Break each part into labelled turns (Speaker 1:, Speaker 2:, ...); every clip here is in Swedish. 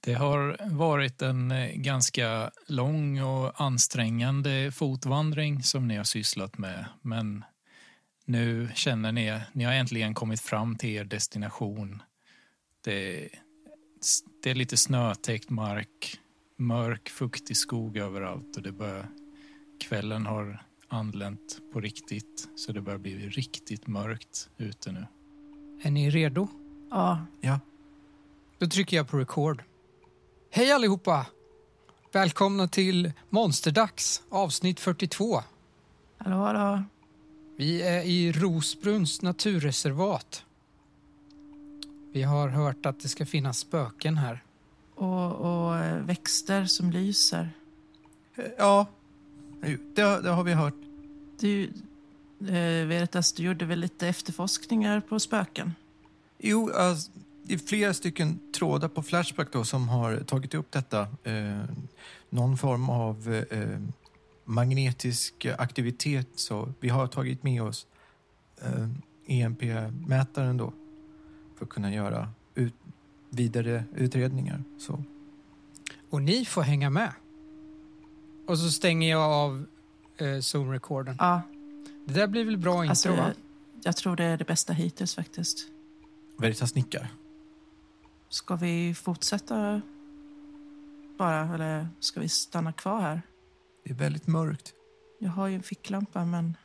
Speaker 1: Det har varit en eh, ganska lång och ansträngande fotvandring som ni har sysslat med. Men nu känner ni, ni har äntligen kommit fram till er destination. Det, det är lite snötäckt mark, mörk, fuktig skog överallt och det börjar, kvällen har anlänt på riktigt så det börjar bli riktigt mörkt ute nu.
Speaker 2: Är ni redo?
Speaker 3: Ja.
Speaker 4: Ja.
Speaker 2: Då trycker jag på record. Hej allihopa! Välkomna till Monsterdags avsnitt 42.
Speaker 3: Hallå, hallå.
Speaker 2: Vi är i Rosbruns naturreservat. Vi har hört att det ska finnas spöken här.
Speaker 3: Och, och eh, växter som lyser.
Speaker 4: Ja, det, har- det har vi hört.
Speaker 3: Du, eh, Veritas, du gjorde väl lite efterforskningar på spöken?
Speaker 4: Jo, alltså, det är flera stycken trådar på Flashback då som har tagit upp detta. Eh, någon form av eh, magnetisk aktivitet. Så vi har tagit med oss eh, EMP-mätaren då för att kunna göra ut, vidare utredningar. Så.
Speaker 2: Och ni får hänga med. Och så stänger jag av eh, Zoom-recorden.
Speaker 3: Ja,
Speaker 2: Det där blir väl bra
Speaker 3: alltså,
Speaker 2: intro, va?
Speaker 3: jag, jag tror det är det bästa hittills faktiskt.
Speaker 4: Veritas nickar.
Speaker 3: Ska vi fortsätta bara, eller ska vi stanna kvar här?
Speaker 4: Det är väldigt mörkt.
Speaker 3: Jag har ju en ficklampa, men...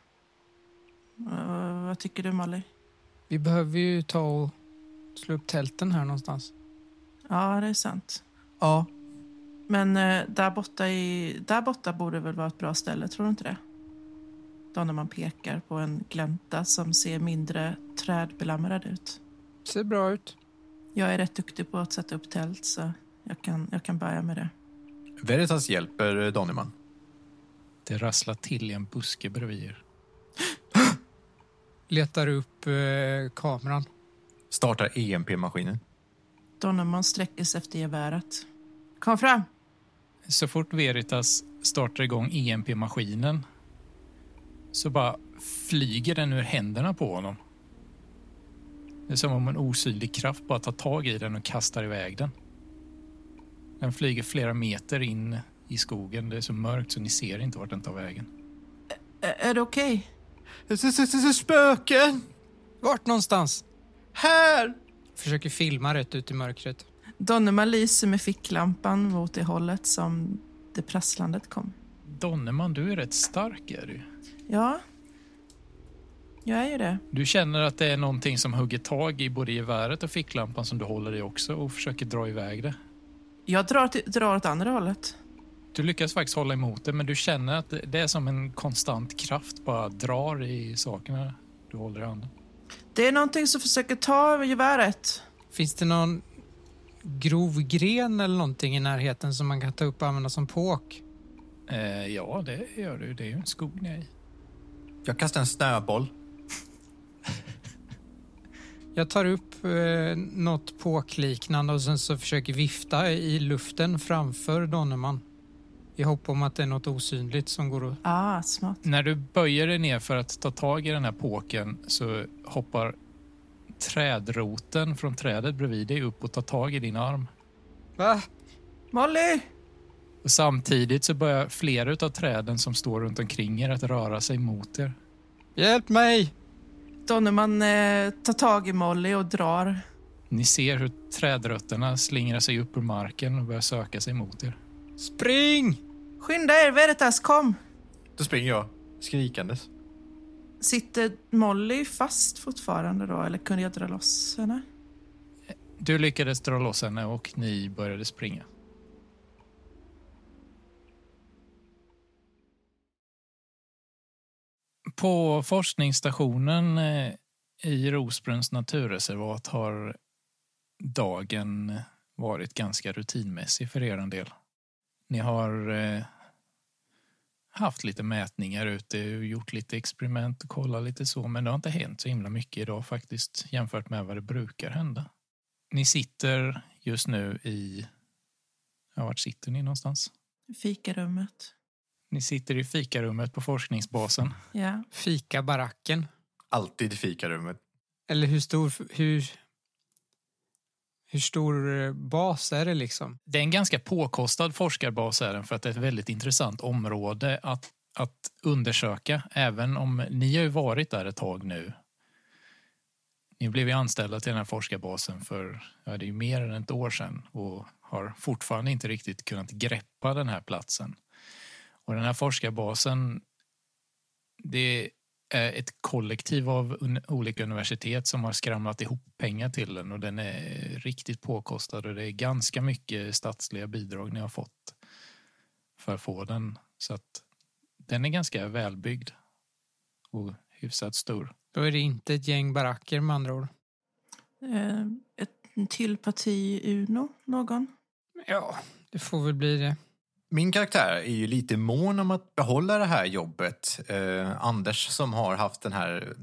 Speaker 3: Eh, vad tycker du, Molly?
Speaker 2: Vi behöver ju ta och slå upp tälten här någonstans.
Speaker 3: Ja, det är sant.
Speaker 4: Ja,
Speaker 3: Men eh, där, borta i, där borta borde väl vara ett bra ställe, tror du inte det? Då när man pekar på en glänta som ser mindre trädbelamrad ut.
Speaker 2: Ser bra ut.
Speaker 3: Jag är rätt duktig på att sätta upp tält, så jag kan, jag kan börja med det.
Speaker 4: Veritas hjälper eh, Donnyman.
Speaker 1: Det rasslar till i en buske bredvid er.
Speaker 2: Letar upp eh, kameran.
Speaker 4: Startar E EMP-maskinen.
Speaker 3: Donovan sträcker sig efter geväret. Kom fram!
Speaker 1: Så fort Veritas startar igång EMP-maskinen så bara flyger den ur händerna på honom. Det är som om en osynlig kraft bara tar tag i den och kastar iväg den. Den flyger flera meter in i skogen. Det är så mörkt så ni ser inte vart den tar vägen.
Speaker 3: Ä- är det okej?
Speaker 4: Spöken!
Speaker 2: Vart någonstans?
Speaker 4: Här!
Speaker 2: Försöker filma rätt ut i mörkret.
Speaker 3: Donnerman lyser med ficklampan mot det hållet som det prasslandet kom.
Speaker 1: Donnerman, du är rätt stark är du.
Speaker 3: Ja, jag är ju det.
Speaker 1: Du känner att det är någonting som hugger tag i både geväret och ficklampan som du håller i också och försöker dra iväg det.
Speaker 3: Jag drar, till, drar åt andra hållet.
Speaker 1: Du lyckas faktiskt hålla emot det, men du känner att det- det är som en konstant kraft bara drar i sakerna du håller i handen.
Speaker 3: Det är någonting som försöker ta geväret.
Speaker 2: Finns det någon grov gren eller någonting i närheten som man kan ta upp och använda som påk?
Speaker 1: Eh, ja, det gör du. Det är ju en skog ni är i.
Speaker 4: Jag kastar en snöboll.
Speaker 2: Jag tar upp eh, något påkliknande och sen så försöker vifta i luften framför Donnerman. I hopp om att det är något osynligt som går att...
Speaker 3: Ah, smart.
Speaker 1: När du böjer dig ner för att ta tag i den här påken så hoppar trädroten från trädet bredvid dig upp och tar tag i din arm.
Speaker 2: Va?
Speaker 3: Molly!
Speaker 1: Och samtidigt så börjar flera av träden som står runt omkring er att röra sig mot er.
Speaker 2: Hjälp mig!
Speaker 3: Donnerman eh, tar tag i Molly och drar.
Speaker 1: Ni ser hur trädrötterna slingrar sig upp ur marken och börjar söka sig mot er.
Speaker 2: Spring!
Speaker 3: Skynda er, Veritas, kom!
Speaker 4: Då springer jag skrikandes.
Speaker 3: Sitter Molly fast fortfarande då, eller kunde jag dra loss henne?
Speaker 1: Du lyckades dra loss henne och ni började springa. På forskningsstationen eh, i Rosbruns naturreservat har dagen varit ganska rutinmässig för er en del. Ni har eh, haft lite mätningar ute och gjort lite experiment och kollat lite så men det har inte hänt så himla mycket idag faktiskt jämfört med vad det brukar hända. Ni sitter just nu i... Ja, vart sitter ni någonstans?
Speaker 3: Fikarummet.
Speaker 1: Ni sitter i fikarummet på forskningsbasen.
Speaker 3: Ja.
Speaker 2: Fikabaracken.
Speaker 4: Alltid i fikarummet.
Speaker 2: Eller hur stor... Hur... Hur stor eh, bas är det liksom?
Speaker 1: Det är en ganska påkostad forskarbas är den för att det är ett väldigt intressant område att, att undersöka. Även om ni har ju varit där ett tag nu. Ni blev ju anställda till den här forskarbasen för ja, det är ju mer än ett år sedan och har fortfarande inte riktigt kunnat greppa den här platsen. Och den här forskarbasen, det är eh, ett kollektiv av un- olika universitet som har skramlat ihop pengar till den och den är riktigt påkostad och det är ganska mycket statsliga bidrag ni har fått för att få den. Så att den är ganska välbyggd och hyfsat stor.
Speaker 2: Då är det inte ett gäng baracker med andra ord.
Speaker 3: Eh, ett, en till parti Uno, någon?
Speaker 2: Ja, det får väl bli det.
Speaker 4: Min karaktär är ju lite mån om att behålla det här jobbet. Eh, Anders som har haft den här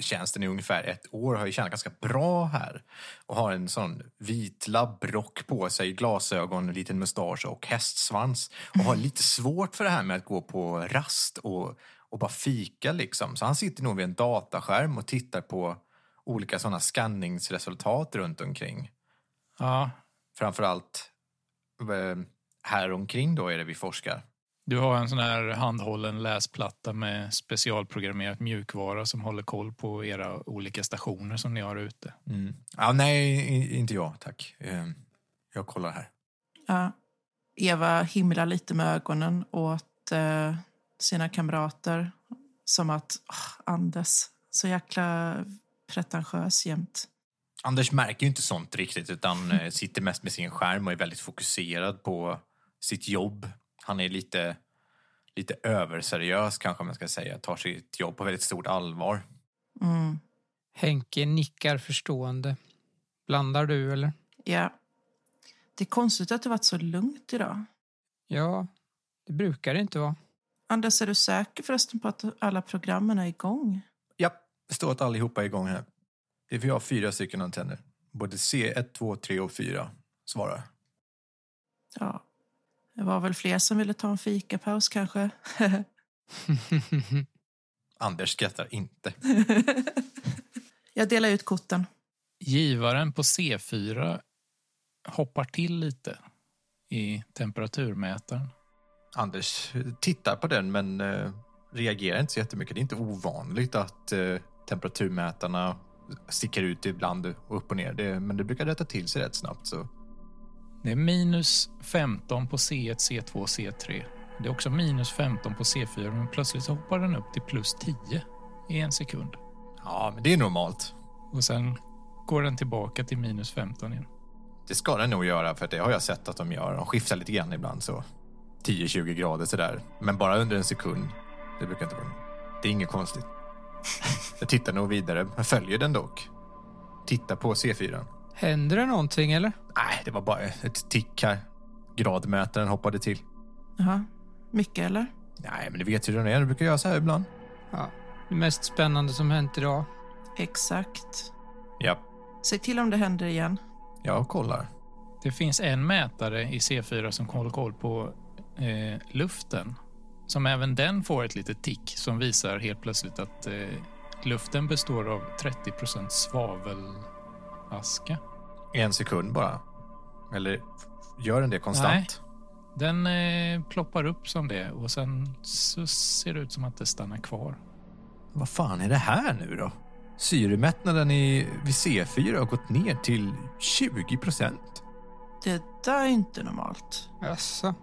Speaker 4: tjänsten i ungefär ett år har ju tjänat ganska bra här och har en sån vit labbrock på sig, glasögon, en liten mustasch och hästsvans och har lite svårt för det här med att gå på rast och, och bara fika liksom. Så han sitter nog vid en dataskärm och tittar på olika såna scanningsresultat runt omkring
Speaker 1: Ja,
Speaker 4: framförallt eh, här omkring då är det vi forskar.
Speaker 1: du har en sån här handhållen läsplatta med specialprogrammerat mjukvara som håller koll på era olika stationer som ni har ute.
Speaker 4: Mm. Ja, nej, i- inte jag, tack. Eh, Jag kollar här.
Speaker 3: Ja. Eva himlar lite med ögonen åt eh, sina kamrater. Som att, "Åh, Anders, så jäkla pretentiös jämt.
Speaker 4: Anders märker ju inte sånt riktigt utan eh, sitter mest med sin skärm och är väldigt fokuserad på sitt jobb. Han är lite, lite överseriös kanske man ska säga, tar sitt jobb på väldigt stort allvar.
Speaker 3: Mm.
Speaker 2: Henke nickar förstående. Blandar du eller?
Speaker 3: Ja. Det är konstigt att det varit så lugnt idag.
Speaker 2: Ja, det brukar det inte vara.
Speaker 3: Anders, är du säker förresten på att alla programmen är igång?
Speaker 4: Ja, det står att allihopa är igång här. Det är för jag har fyra stycken antenner. Både C1, 2, 3 och 4 svarar.
Speaker 3: Ja. Det var väl fler som ville ta en fikapaus kanske?
Speaker 4: Anders skrattar inte.
Speaker 3: Jag delar ut korten.
Speaker 1: givaren på C4 hoppar till lite i temperaturmätaren.
Speaker 4: Anders tittar på den men eh, reagerar inte så jättemycket. Det är inte ovanligt att eh, temperaturmätarna sticker ut ibland och upp och ner. Det, men det brukar rätta till sig rätt snabbt. Så.
Speaker 1: Det är minus 15 på C1, C2, C3. Det är också minus 15 på C4, men plötsligt hoppar den upp till plus 10 i en sekund.
Speaker 4: Ja, men det är normalt.
Speaker 1: Och sen går den tillbaka till minus 15 igen.
Speaker 4: Det ska den nog göra för att det har jag sett att de gör. De skiftar lite grann ibland så 10-20 grader sådär. Men bara under en sekund. Det brukar inte vara Det är inget konstigt. Jag tittar nog vidare. Jag följer den dock. Tittar på C4.
Speaker 2: Händer det någonting eller?
Speaker 4: Nej, det var bara ett tick här. Gradmätaren hoppade till.
Speaker 3: Jaha. Mycket eller?
Speaker 4: Nej, men du vet hur den är. Du brukar göra så här ibland.
Speaker 2: Ja, det mest spännande som hänt idag.
Speaker 3: Exakt.
Speaker 4: Ja,
Speaker 3: Säg till om det händer igen.
Speaker 4: jag kollar.
Speaker 1: Det finns en mätare i C4 som håller koll på eh, luften. Som även den får ett litet tick som visar helt plötsligt att eh, luften består av 30 svavelaska.
Speaker 4: En sekund bara. Eller gör den det konstant?
Speaker 1: Den eh, ploppar upp som det och sen så ser det ut som att det stannar kvar.
Speaker 4: Vad fan är det här nu då? Syremättnaden i, vid C4 har gått ner till 20 procent.
Speaker 3: Det där är inte normalt.
Speaker 2: Jaså?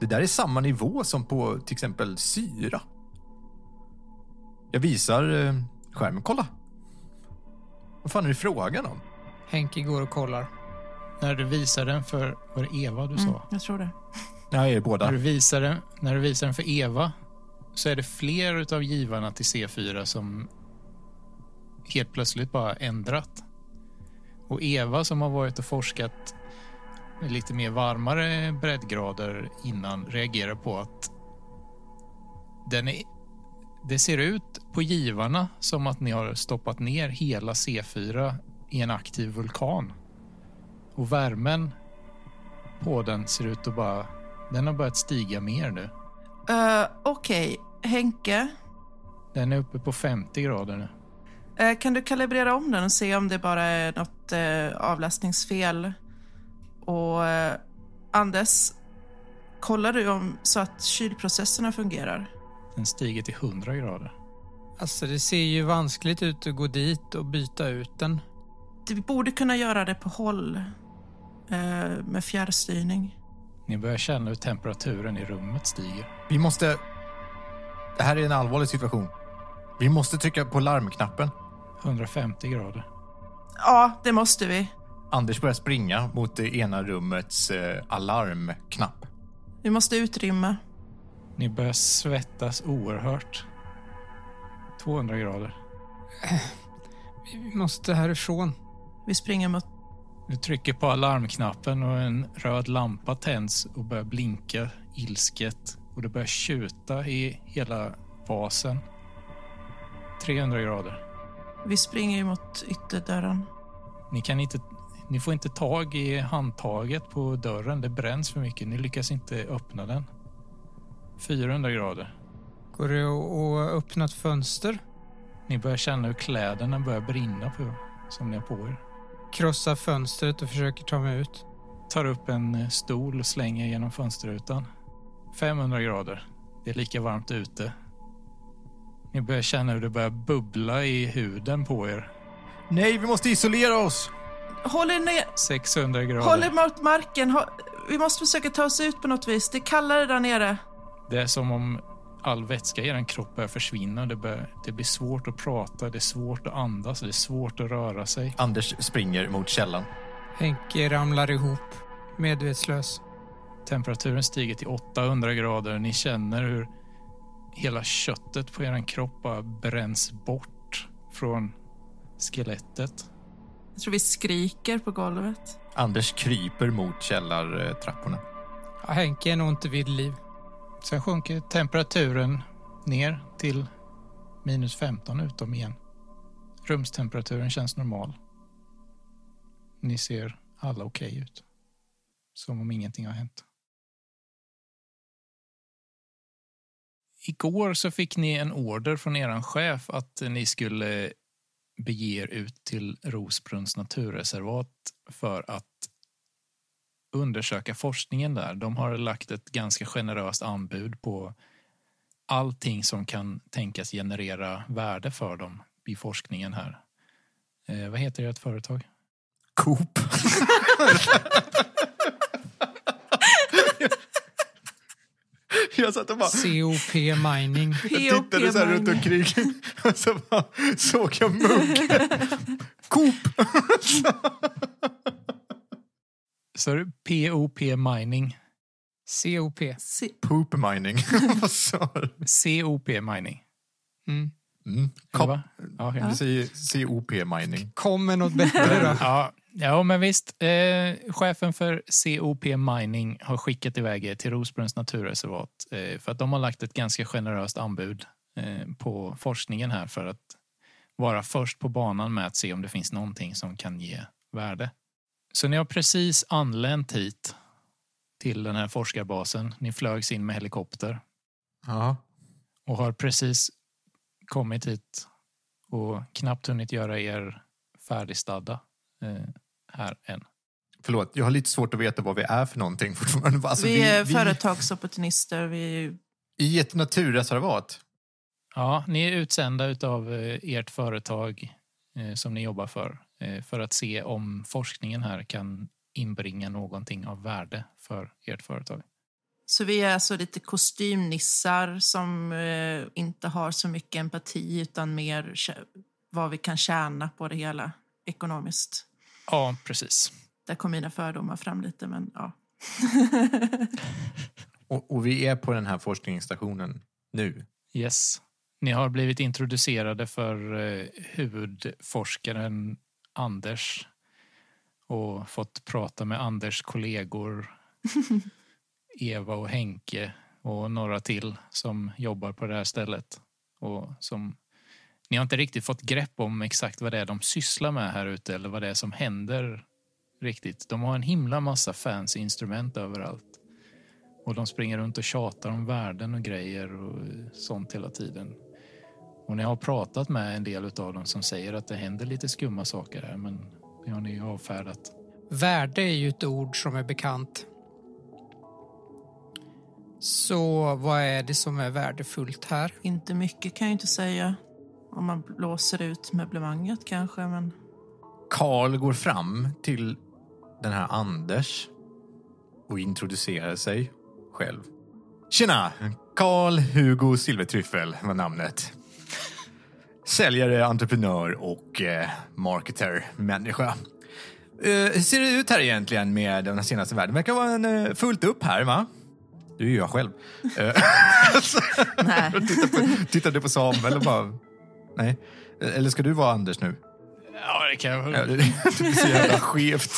Speaker 4: Det där är samma nivå som på till exempel syra. Jag visar eh, skärmen. Kolla! Vad fan är det frågan om?
Speaker 2: Henke går och kollar.
Speaker 1: När du visar den för, var det Eva du
Speaker 3: Mm,
Speaker 1: sa?
Speaker 3: jag tror det.
Speaker 4: Nej, båda.
Speaker 1: När du, visar den, när du visar den för Eva så är det fler utav givarna till C4 som helt plötsligt bara ändrat. Och Eva som har varit och forskat med lite mer varmare breddgrader innan reagerar på att den är, det ser ut på givarna som att ni har stoppat ner hela C4 i en aktiv vulkan. Och värmen på den ser ut att bara den har börjat stiga mer nu.
Speaker 3: Uh, Okej, Henke.
Speaker 1: Den är uppe på 50 grader nu.
Speaker 3: Eh, Eh, Kan du kalibrera om den och se om det bara är något eh, avläsningsfel? Och eh, Anders, kollar du om så att kylprocesserna fungerar?
Speaker 1: Den stiger till 100 grader.
Speaker 2: Alltså det ser ju vanskligt ut att gå dit och byta ut den.
Speaker 3: Du borde kunna göra det på håll eh, med fjärrstyrning.
Speaker 1: Ni börjar känna hur temperaturen i rummet stiger.
Speaker 4: Vi måste... Det här är en allvarlig situation. Vi måste trycka på larmknappen.
Speaker 1: 150 grader.
Speaker 3: Ja, det måste vi.
Speaker 4: Anders börjar springa mot det ena rummets eh, alarmknapp.
Speaker 3: Vi måste utrymma.
Speaker 1: Ni börjar svettas oerhört. 200 grader.
Speaker 2: Vi måste härifrån.
Speaker 3: Vi springer mot...
Speaker 1: Du trycker på alarmknappen och en röd lampa tänds och börjar blinka ilsket och det börjar tjuta i hela basen. 300 grader.
Speaker 3: Vi springer ju mot ytterdörren.
Speaker 1: Ni, kan inte, ni får inte tag i handtaget på dörren. Det bränns för mycket. Ni lyckas inte öppna den. 400 grader.
Speaker 2: Går det att att öppna ett fönster?
Speaker 1: Ni börjar känna hur kläderna börjar brinna på er, som ni har på er.
Speaker 2: Krossa fönstret och försöker ta mig ut.
Speaker 1: Tar upp en eh, stol och slänger genom fönsterrutan. 500 grader. Det är lika varmt ute. Ni börjar känna hur det börjar bubbla i huden på er.
Speaker 4: Nej, vi måste isolera oss!
Speaker 3: Håll er ner!
Speaker 1: 600 grader.
Speaker 3: Håll er mot marken. Hå- Vi måste försöka ta oss ut på något vis. Det är kallare där nere.
Speaker 1: Det är som om all vätska i er kropp börjar försvinna. Det, börjar, det blir svårt att prata, det är svårt att andas, det är svårt att röra sig.
Speaker 4: Anders springer mot källan.
Speaker 2: Henke ramlar ihop, medvetslös.
Speaker 1: Temperaturen stiger till 800 grader. Ni känner hur hela köttet på er kropp bara bränns bort från skelettet.
Speaker 3: Jag tror vi skriker på golvet.
Speaker 4: Anders kryper mot källartrapporna.
Speaker 2: Ja, Henke är nog inte vid liv.
Speaker 1: Sen sjunker temperaturen ner till minus 15 utom igen. Rumstemperaturen känns normal. Ni ser alla okej ut. Som om ingenting har hänt. Igår så fick ni en order från er chef att ni skulle bege er ut till Rosbrunns naturreservat för att undersöka forskningen där. De har lagt ett ganska generöst anbud på allting som kan tänkas generera värde för dem i forskningen här. Eh, vad heter ert företag?
Speaker 4: Coop. Jag satt och bara...
Speaker 2: COP Mining.
Speaker 4: Jag tittade så här runt
Speaker 3: Mining.
Speaker 4: omkring och så bara såg jag munk. Coop!
Speaker 1: Så är det POP Mining.
Speaker 2: COP.
Speaker 3: Se-
Speaker 4: Poop mining. Vad sa du?
Speaker 1: COP Mining.
Speaker 2: Mm.
Speaker 4: Mm.
Speaker 1: Eller
Speaker 4: Cop.
Speaker 1: va? Ja, okej.
Speaker 4: Du säger COP mining.
Speaker 2: Kom med något bättre då.
Speaker 1: Ja, ja, men visst. Eh, chefen för COP Mining har skickat iväg er till Rosbrunns naturreservat eh, för att de har lagt ett ganska generöst anbud eh, på forskningen här för att vara först på banan med att se om det finns någonting som kan ge värde. Så ni har precis anlänt hit till den här forskarbasen. Ni flögs in med helikopter
Speaker 4: Ja.
Speaker 1: och har precis kommit hit och knappt hunnit göra er färdigstadda eh, här än.
Speaker 4: Förlåt, jag har lite svårt att veta vad vi är för någonting fortfarande. Alltså,
Speaker 3: vi är företagsopportunister. Vi,
Speaker 4: I ett naturreservat.
Speaker 1: Ja, ni är utsända av ert företag eh, som ni jobbar för eh, för att se om forskningen här kan inbringa någonting av värde för ert företag.
Speaker 3: så vi är alltså lite kostymnissar som eh, inte har så mycket empati utan mer kä- vad vi kan tjäna på det hela ekonomiskt.
Speaker 1: Ja, precis.
Speaker 3: Där kom mina fördomar fram lite, men ja.
Speaker 4: Och, och vi är på den här forskningsstationen nu.
Speaker 1: Yes. Ni har blivit introducerade för eh, huvudforskaren Anders och fått prata med Anders kollegor Eva och Henke och några till som jobbar på det här stället. Och som, ni har inte riktigt fått grepp om exakt vad det är de sysslar med här ute eller vad det är som händer riktigt. De har en himla massa fans instrument överallt. Och de springer runt och tjatar om värden och grejer och sånt hela tiden. Och Och ni har pratat med en del av dem som säger att det händer lite skumma saker här men det har ni ju avfärdat.
Speaker 2: Värde är ju ett ord som är bekant. Så vad är det som är värdefullt här?
Speaker 3: Inte mycket kan jag inte säga. Om man blåser ut möblemanget kanske, men
Speaker 4: Karl går fram till den här Anders och introducerar sig själv. Tjena! Karl Hugo Silvertryffel var namnet. Säljare, entreprenör och eh, marketer, människa. Eh, hur ser det ut här egentligen med den senaste världen? verkar vara en, eh, fullt upp här, va? Det är ju jag själv.
Speaker 3: nej.
Speaker 4: Tittade på Samuel och bara... Nej. Eh, Eller ska du vara Anders nu?
Speaker 1: Ja, det kan jag
Speaker 4: Ja, det är så jävla skevt.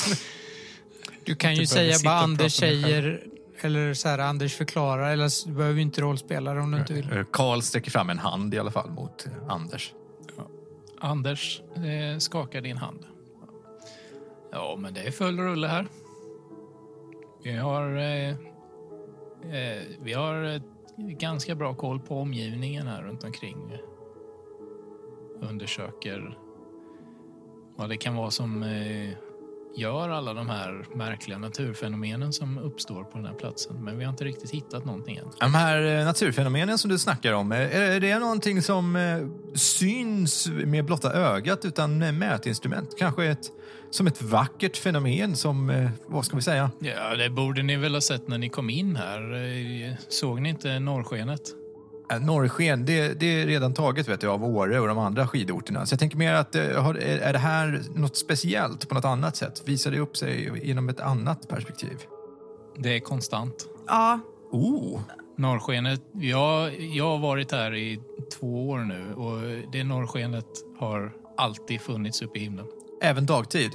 Speaker 2: Du kan ju
Speaker 4: behöver
Speaker 2: säga
Speaker 4: sitta
Speaker 2: vad
Speaker 4: och
Speaker 2: Anders
Speaker 4: prata med dig
Speaker 2: säger eller så här, Anders förklarar eller så- du behöver ju inte rollspela det om du inte vill.
Speaker 4: Eh, Karl sträcker fram en hand i alla fall mot eh, Anders.
Speaker 1: Anders eh, skakar din hand. Ja, men det är full rulle här. Vi har, eh, eh, vi har eh, ganska bra koll på omgivningen här runt omkring. Undersöker vad det kan vara som eh, gör alla de här märkliga naturfenomenen som uppstår på den här platsen. Men vi har inte riktigt hittat någonting än.
Speaker 4: De här eh, naturfenomenen som du snackar om, eh, är det någonting som eh, syns med blotta ögat utan med mätinstrument? Kanske ett, som ett vackert fenomen som, eh, vad ska vi säga?
Speaker 1: Ja, det borde ni väl ha sett när ni kom in här. Eh, Såg ni inte norrskenet?
Speaker 4: Eh, Norrsken, det, det är redan taget vet jag, av Åre och de andra skidorterna. Så jag tänker mer att eh, har, är är det här något speciellt på något annat sätt? Visar det upp sig genom ett annat perspektiv?
Speaker 1: Det är konstant.
Speaker 3: Ja,
Speaker 4: Oh!
Speaker 1: Norrskenet, jag, jag har varit här i två år nu och det norrskenet har alltid funnits uppe i himlen.
Speaker 4: Även dagtid?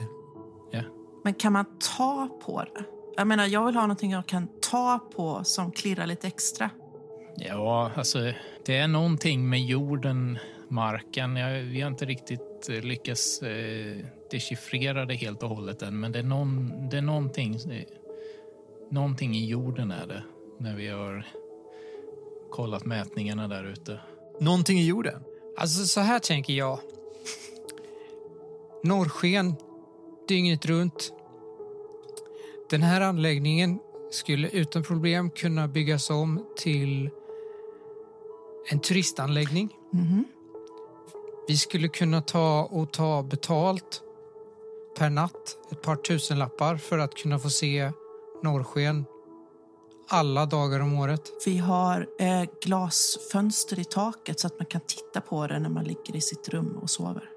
Speaker 1: Ja.
Speaker 3: men kan man ta på det? Jag menar, jag vill ha någonting jag kan ta på som klirrar lite extra.
Speaker 1: ja, alltså det är någonting med jorden, marken. Jag, vi har inte riktigt eh, lyckats eh, dechiffrera det helt och hållet än, men det är, någon, det är någonting, eh, någonting i jorden är det när vi har kollat mätningarna där ute.
Speaker 4: Någonting i jorden?
Speaker 2: Alltså så här tänker jag. Norrsken, dygnet runt. Den här anläggningen skulle utan problem kunna byggas om till en turistanläggning.
Speaker 3: Mhm.
Speaker 2: Vi skulle kunna ta och ta betalt per natt, ett par tusenlappar för att kunna få se norrsken alla dagar om året.
Speaker 3: Vi har eh, glasfönster i taket så att man kan titta på det när man ligger i sitt rum och sover.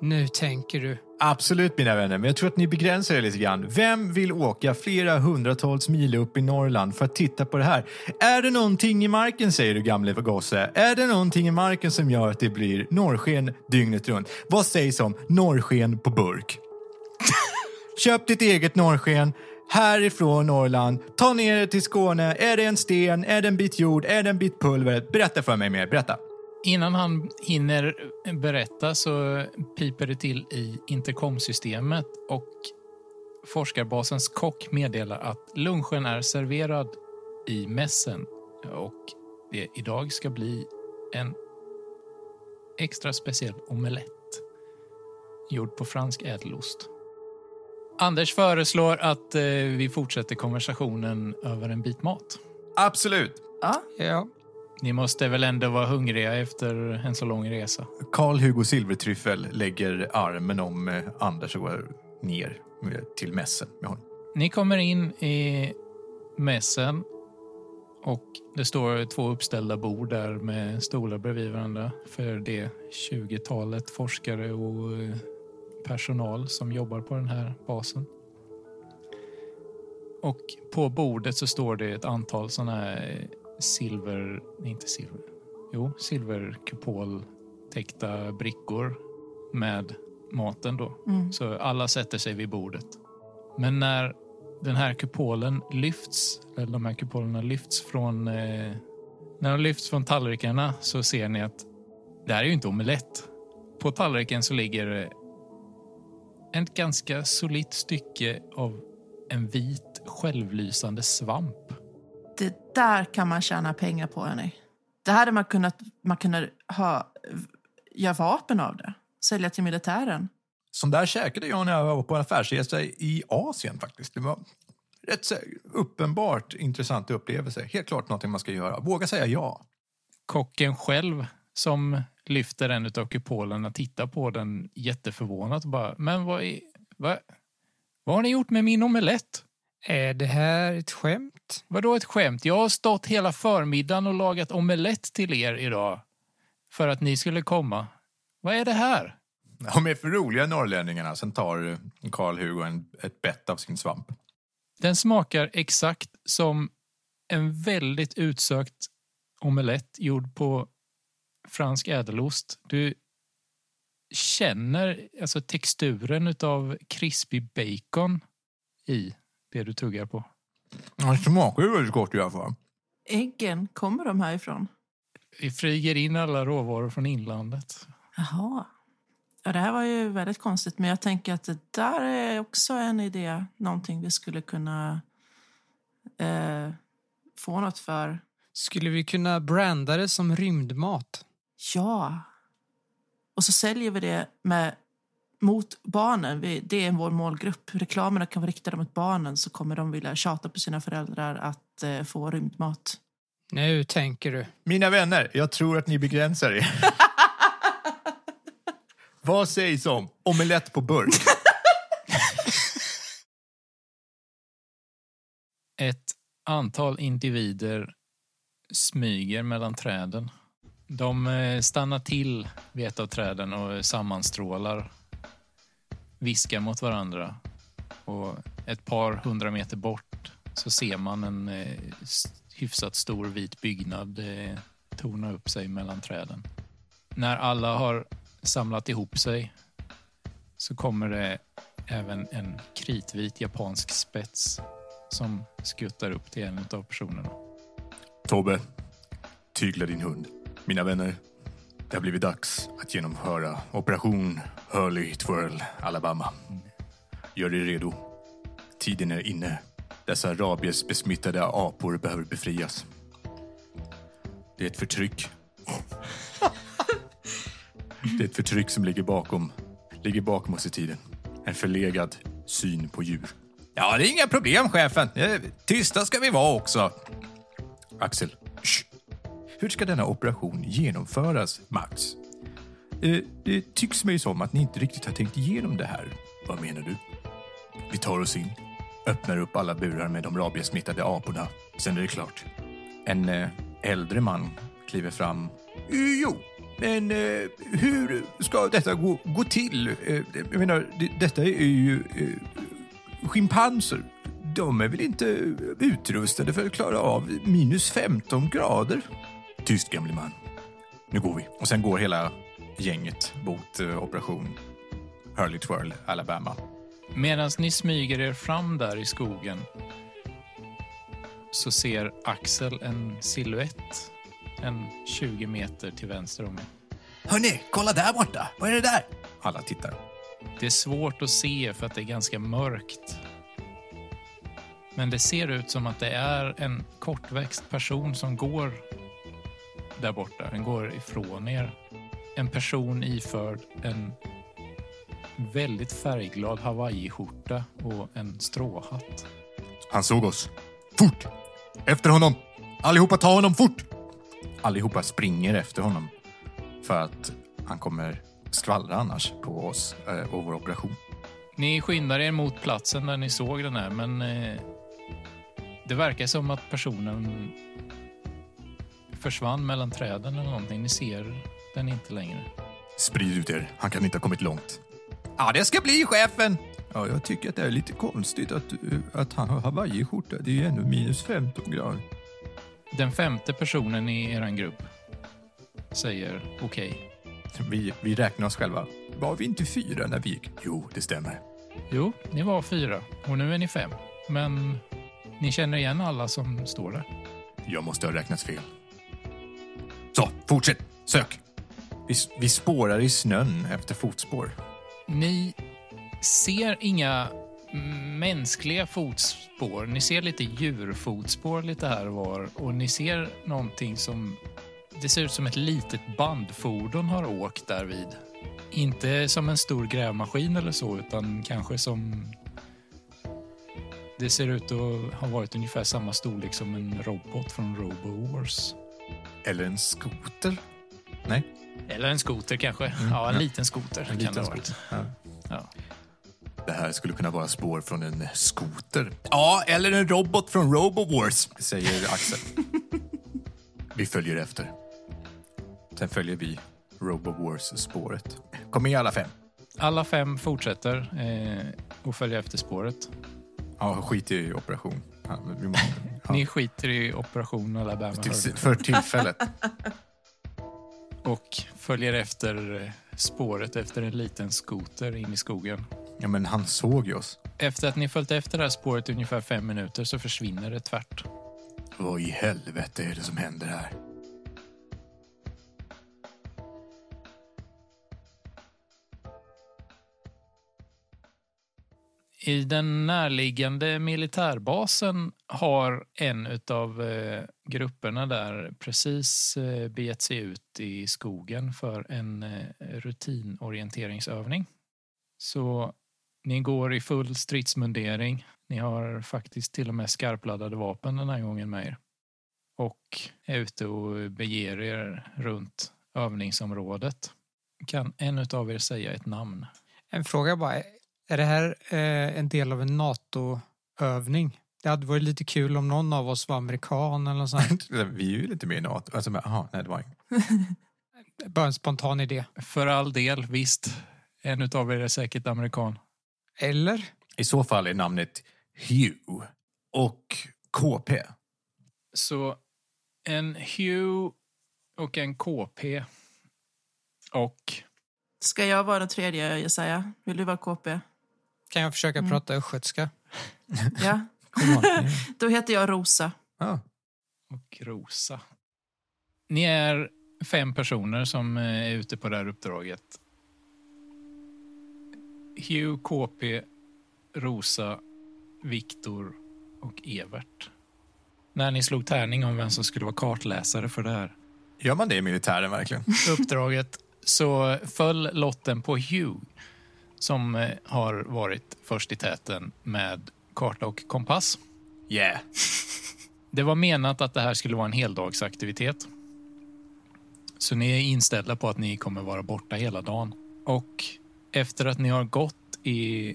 Speaker 2: Nu tänker du.
Speaker 4: Absolut, mina vänner, men jag tror att ni begränsar er lite grann. Vem vill åka flera hundratals mil upp i Norrland för att titta på det här? Är det någonting i marken, säger du gamle gosse? Är det någonting i marken som gör att det blir norrsken dygnet runt? Vad sägs om norrsken på burk? Köp ditt eget norrsken härifrån Norrland. Ta ner det till Skåne. Är det en sten? Är det en bit jord? Är det en bit pulver? Berätta för mig mer. Berätta.
Speaker 1: Innan han hinner berätta så piper det till i intercomsystemet och forskarbasens kock meddelar att lunchen är serverad i mässen och det idag ska bli en extra speciell omelett gjord på fransk ädelost. Anders föreslår att eh, vi fortsätter konversationen över en bit mat.
Speaker 4: Absolut.
Speaker 3: Ja,
Speaker 2: Ja,
Speaker 1: Ni måste väl ändå vara hungriga efter en så lång resa?
Speaker 4: Karl-Hugo Silvertryffel lägger armen om eh, Anders och går ner med- till mässen med honom.
Speaker 1: Ni kommer in i mässen och det står två uppställda bord där med stolar bredvid varandra för det 20-talet forskare och eh, personal som jobbar på den här basen. Och på bordet så står det ett antal sådana här eh, silver, nej, inte silver, jo, silverkupoltäckta brickor med maten då.
Speaker 3: Mm.
Speaker 1: Så alla sätter sig vid bordet. Men när den här kupolen lyfts, eller de här kupolerna lyfts från, eh, när de lyfts från tallrikarna så ser ni att det här är ju inte omelett. På tallriken så ligger det ett ganska solitt stycke av en vit självlysande svamp.
Speaker 3: det där kan man tjäna pengar på, hörni. Det här hade man kunnat, man kunde ha göra vapen av det. Sälja till militären.
Speaker 4: Som där käkade jag när jag var på en affärsresa i Asien faktiskt. Det var rätt så uppenbart intressant upplevelse. Helt klart någonting man ska göra. Våga säga ja.
Speaker 1: Kocken själv som lyfter en av kupolerna tittar på den jätteförvånat och bara “Men vad, är, vad, vad har ni gjort med min omelett?”
Speaker 2: Är det här ett skämt?
Speaker 1: Vadå ett skämt? Jag har stått hela förmiddagen och lagat omelett till er idag för att ni skulle komma. Vad är det här?
Speaker 4: De är för roliga norrlänningarna. Sen tar Karl-Hugo en- ett bett av sin svamp.
Speaker 1: Den smakar exakt som en väldigt utsökt omelett gjord på fransk ädelost. Du känner alltså texturen av krispig bacon i det du tuggar på.
Speaker 4: Det smakar ju väldigt gott i alla fall.
Speaker 3: Äggen, kommer de härifrån?
Speaker 1: Vi flyger in alla råvaror från inlandet.
Speaker 3: Jaha. Ja, det här var ju väldigt konstigt, men jag tänker att det där är också en idé. Någonting vi skulle kunna eh, få något för.
Speaker 2: Skulle vi kunna branda det som rymdmat?
Speaker 3: Ja. Och så säljer vi det med, mot barnen. Vi, det är vår målgrupp. Reklamerna kan vara riktade mot barnen så kommer de vilja tjata på sina föräldrar att eh, få rymdmat.
Speaker 2: Nu tänker du.
Speaker 4: Mina vänner, jag tror att ni begränsar er. Vad sägs om omelett på burk?
Speaker 1: Ett antal individer smyger mellan träden. De eh, stannar till vid ett av träden och sammanstrålar. Viskar mot varandra. Och ett par hundra meter bort så ser man en eh, s- hyfsat stor vit byggnad eh, torna upp sig mellan träden. När alla har samlat ihop sig så kommer det även en kritvit japansk spets som skuttar upp till en av personerna.
Speaker 4: Tobbe, tygla din hund. Mina vänner, det har blivit dags att genomföra operation Hurley Twirl Alabama. Gör dig redo. Tiden är inne. Dessa rabiesbesmittade apor behöver befrias. Det är ett förtryck. Det är ett förtryck som ligger bakom, ligger bakom oss i tiden. En förlegad syn på djur. Ja, det är inga problem, chefen. Eh, Tysta ska vi vara också. Axel. Shh. Hur ska denna operation genomföras, Max? Eh, det tycks mig som att ni inte riktigt har tänkt igenom det här. Vad menar du? Vi tar oss in, öppnar upp alla burar med de rabiesmittade aporna. Sen är det klart. En eh, äldre man kliver fram. Eh, Jo, men eh, hur ska detta gå, gå till? Eh, jag menar, det, detta är ju eh, schimpanser. De är väl inte utrustade för att klara av minus 15 grader? Tyst, gamle man. Nu går vi. Och sen går hela gänget mot eh, operation Hurley Twirl, Alabama.
Speaker 1: Medan ni smyger er fram där i skogen så ser Axel en silhuett en 20 meter till vänster om er.
Speaker 4: Hörni, kolla där borta! Vad är det där? Alla tittar.
Speaker 1: Det är svårt att se för att det är ganska mörkt. Men det ser ut som att det är en kortväxt person som går där borta. Den går ifrån er. En person iförd en väldigt färgglad hawaiiskjorta och en stråhatt.
Speaker 4: Han såg oss. Fort! Efter honom! Allihopa, ta honom fort! Allihopa springer efter honom för att han kommer skvallra annars på oss eh, och vår operation.
Speaker 1: Ni skyndar er mot platsen där ni såg den här, men eh, det verkar som att personen försvann mellan träden eller någonting. Ni ser den inte längre.
Speaker 4: Sprid ut er, han kan inte ha kommit långt. Ja, det ska bli chefen! Ja, jag tycker att det är lite konstigt att, eh, att han har hawaiiskjorta. Det är ju ändå minus 15 grader.
Speaker 1: Den femte personen i er grupp säger okej.
Speaker 4: Vi, vi räknar oss själva. Var vi inte fyra när vi gick? Jo, det stämmer.
Speaker 1: Jo, ni var fyra och nu är ni fem. Men ni känner igen alla som står där.
Speaker 4: Jag måste ha räknat fel. Så, fortsätt. Sök. Vi, vi spårar i snön efter fotspår.
Speaker 1: Ni ser inga mänskliga fotspår. Ni ser lite djurfotspår lite här och var och ni ser någonting som Det ser ut som ett litet bandfordon har åkt där vid. Inte som en stor grävmaskin eller så, utan kanske som... Det ser ut att ha varit ungefär samma storlek som en robot från Robo Wars.
Speaker 4: Eller en skoter.
Speaker 1: Eller en skoter kanske. Mm. Ja, en
Speaker 4: ja.
Speaker 1: liten skoter kan det ha varit.
Speaker 4: Ja.
Speaker 1: Ja.
Speaker 5: Det här skulle kunna vara spår från en skoter. Ja, eller en robot från Robowars.
Speaker 4: Säger Axel.
Speaker 5: Vi följer efter.
Speaker 4: Sen följer vi Robowars-spåret. Kom igen alla fem.
Speaker 1: Alla fem fortsätter eh, och följer efter spåret.
Speaker 4: Ja, skit i operation. Ja, men vi måste,
Speaker 1: Ni skiter i operation Alabama Hurley
Speaker 4: Tills- för tillfället.
Speaker 1: och följer efter eh, spåret efter en liten skoter in i skogen.
Speaker 4: Ja, men han såg ju oss.
Speaker 1: Efter att ni följt efter det här spåret i ungefär fem minuter så försvinner det tvärt.
Speaker 5: Vad i helvete är det som händer här?
Speaker 1: I den närliggande militärbasen har en av eh, grupperna där precis eh, begett sig ut i skogen för en eh, rutinorienteringsövning. Så ni går i full stridsmundering. Ni har faktiskt till och med skarpladdade vapen den här gången med er. Och är ute och beger er runt övningsområdet. Kan en av er säga ett namn?
Speaker 2: En fråga bara. Är det här eh, en del av en NATO-övning? Det hade varit lite kul om någon av oss var amerikan eller något sånt.
Speaker 4: Vi är ju lite mer NATO. Alltså, men, aha, nej, det var inget.
Speaker 2: Bara en spontan idé.
Speaker 1: För all del, visst. En utav er är säkert amerikan.
Speaker 2: Eller?
Speaker 4: I så fall är namnet Hugh och KP.
Speaker 1: Så en Hugh och en KP. Och
Speaker 3: Ska jag vara den tredje, Jesaja? Vill du vara KP?
Speaker 2: Kan jag försöka
Speaker 3: Mm.
Speaker 2: prata östgötska?
Speaker 3: Ja.
Speaker 4: Kom igen.
Speaker 3: Då heter jag Rosa.
Speaker 4: Ja.
Speaker 1: och Rosa. Ni är fem personer som eh, är ute på det här uppdraget. Hugh, KP, Rosa, Viktor och Evert. När ni slog tärning om vem som skulle vara kartläsare för det här
Speaker 4: Gör man det i militären verkligen?
Speaker 1: uppdraget så föll lotten på Hugh som eh, har varit först i täten med karta och kompass.
Speaker 4: Yeah.
Speaker 1: Det var menat att det här skulle vara en heldagsaktivitet. Så ni är inställda på att ni kommer vara borta hela dagen. Och efter att ni har gått i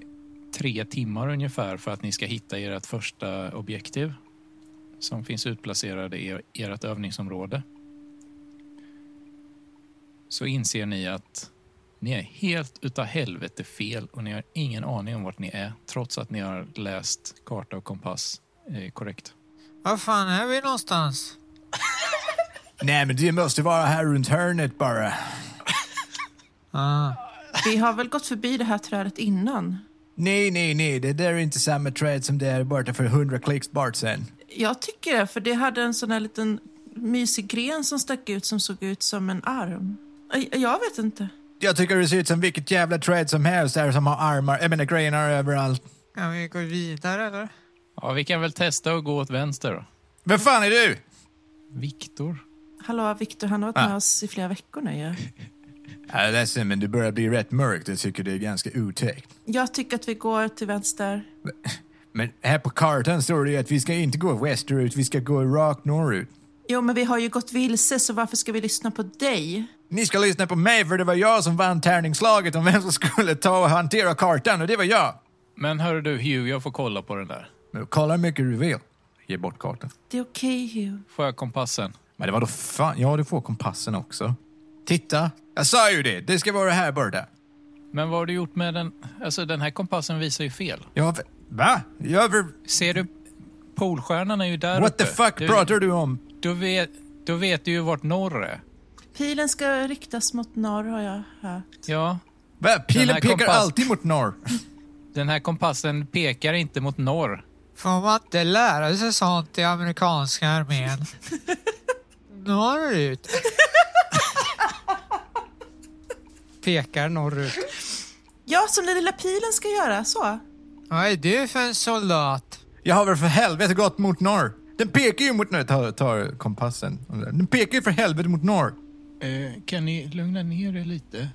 Speaker 1: tre timmar ungefär för att ni ska hitta ert första objektiv som finns utplacerade i er- ert övningsområde så inser ni att ni är helt utav helvete fel och ni har ingen aning om vart ni är trots att ni har läst karta och kompass eh, korrekt.
Speaker 2: Var fan är vi någonstans?
Speaker 4: Nej, men det måste vara här runt hörnet bara.
Speaker 2: Ah.
Speaker 3: Vi har väl gått förbi det här trädet innan?
Speaker 4: Nej, nej, nej. Det där är inte samma träd som det är borta för hundra klicks bort sen.
Speaker 3: Jag tycker det, för det hade en sån här liten mysig gren som stack ut som såg ut som en arm. Ej, Jag vet inte.
Speaker 4: Jag tycker det ser ut som vilket jävla träd som helst där som har armar, jag menar grenar överallt.
Speaker 2: Kan vi gå vidare eller?
Speaker 1: Ja, vi kan väl testa att gå åt vänster då.
Speaker 4: Vem fan är du?
Speaker 1: Viktor.
Speaker 3: Hallå, Viktor, han har varit med oss i flera veckor nu ju.
Speaker 4: Jag är ledsen, men det börjar bli rätt mörkt. Jag tycker det är ganska otäckt.
Speaker 3: Jag tycker att vi går till vänster.
Speaker 4: Men här på kartan står det ju att vi ska inte gå västerut, vi ska gå rakt norrut.
Speaker 3: Jo, men vi har ju gått vilse, så varför ska vi lyssna på dig?
Speaker 4: Ni ska lyssna på mig, för det var jag som vann tärningslaget om vem som skulle ta och hantera kartan, och det var jag.
Speaker 1: Men hör du Hugh, jag får kolla på den där.
Speaker 4: Men kolla hur mycket du vill. Ge bort kartan.
Speaker 3: Det är okej, Hugh.
Speaker 1: Får jag kompassen?
Speaker 4: Men det var då fan, ja du får kompassen också. Titta, jag sa ju det, det ska vara här borta.
Speaker 1: Men vad har du gjort med den? Alltså den här kompassen visar ju fel.
Speaker 4: Ja, va? Jag över...
Speaker 1: Ser du? Polstjärnan är ju där
Speaker 4: What
Speaker 1: uppe.
Speaker 4: the fuck
Speaker 1: du,
Speaker 4: pratar du om?
Speaker 1: Då vet, då vet du ju vart norr är.
Speaker 3: Pilen ska riktas mot norr, har jag hört.
Speaker 1: Ja,
Speaker 4: Va?
Speaker 1: Den
Speaker 4: Pilen
Speaker 1: här
Speaker 4: pekar
Speaker 1: kompass-
Speaker 4: alltid mot norr.
Speaker 1: den här kompassen pekar inte mot norr.
Speaker 2: Får man inte lära sig sånt i amerikanska armén? norrut. Pekar norrut.
Speaker 3: Ja, som den lilla pilen ska göra, så.
Speaker 2: Vad är du för en soldat?
Speaker 4: Jag har väl för helvete gått mot norr. Den pekar ju mot norr. Tar, tar kompassen. Den pekar ju för helvete mot norr.
Speaker 1: Eh, kan ni lugna ner er lite?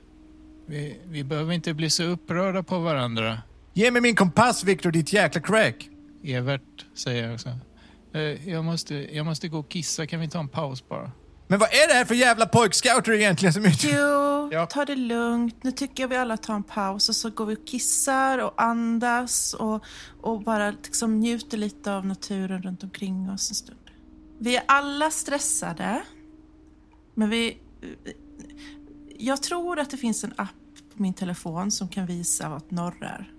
Speaker 1: Vi, vi behöver inte bli så upprörda på varandra.
Speaker 4: Ge mig min kompass, Victor, ditt jäkla crack!
Speaker 1: Evert säger jag också. Eh, jag, måste, jag måste gå och kissa, kan vi ta en paus bara?
Speaker 4: Men vad är det här för jävla pojkscouter egentligen som är
Speaker 3: Jo,
Speaker 4: Ja.
Speaker 3: ta det lugnt. Nu tycker jag vi alla tar en paus och så går vi och kissar och andas och, och bara liksom njuter lite av naturen runt omkring oss en stund. Vi är alla stressade, men vi... Jag tror att det finns en app på min telefon som kan visa vart norr är.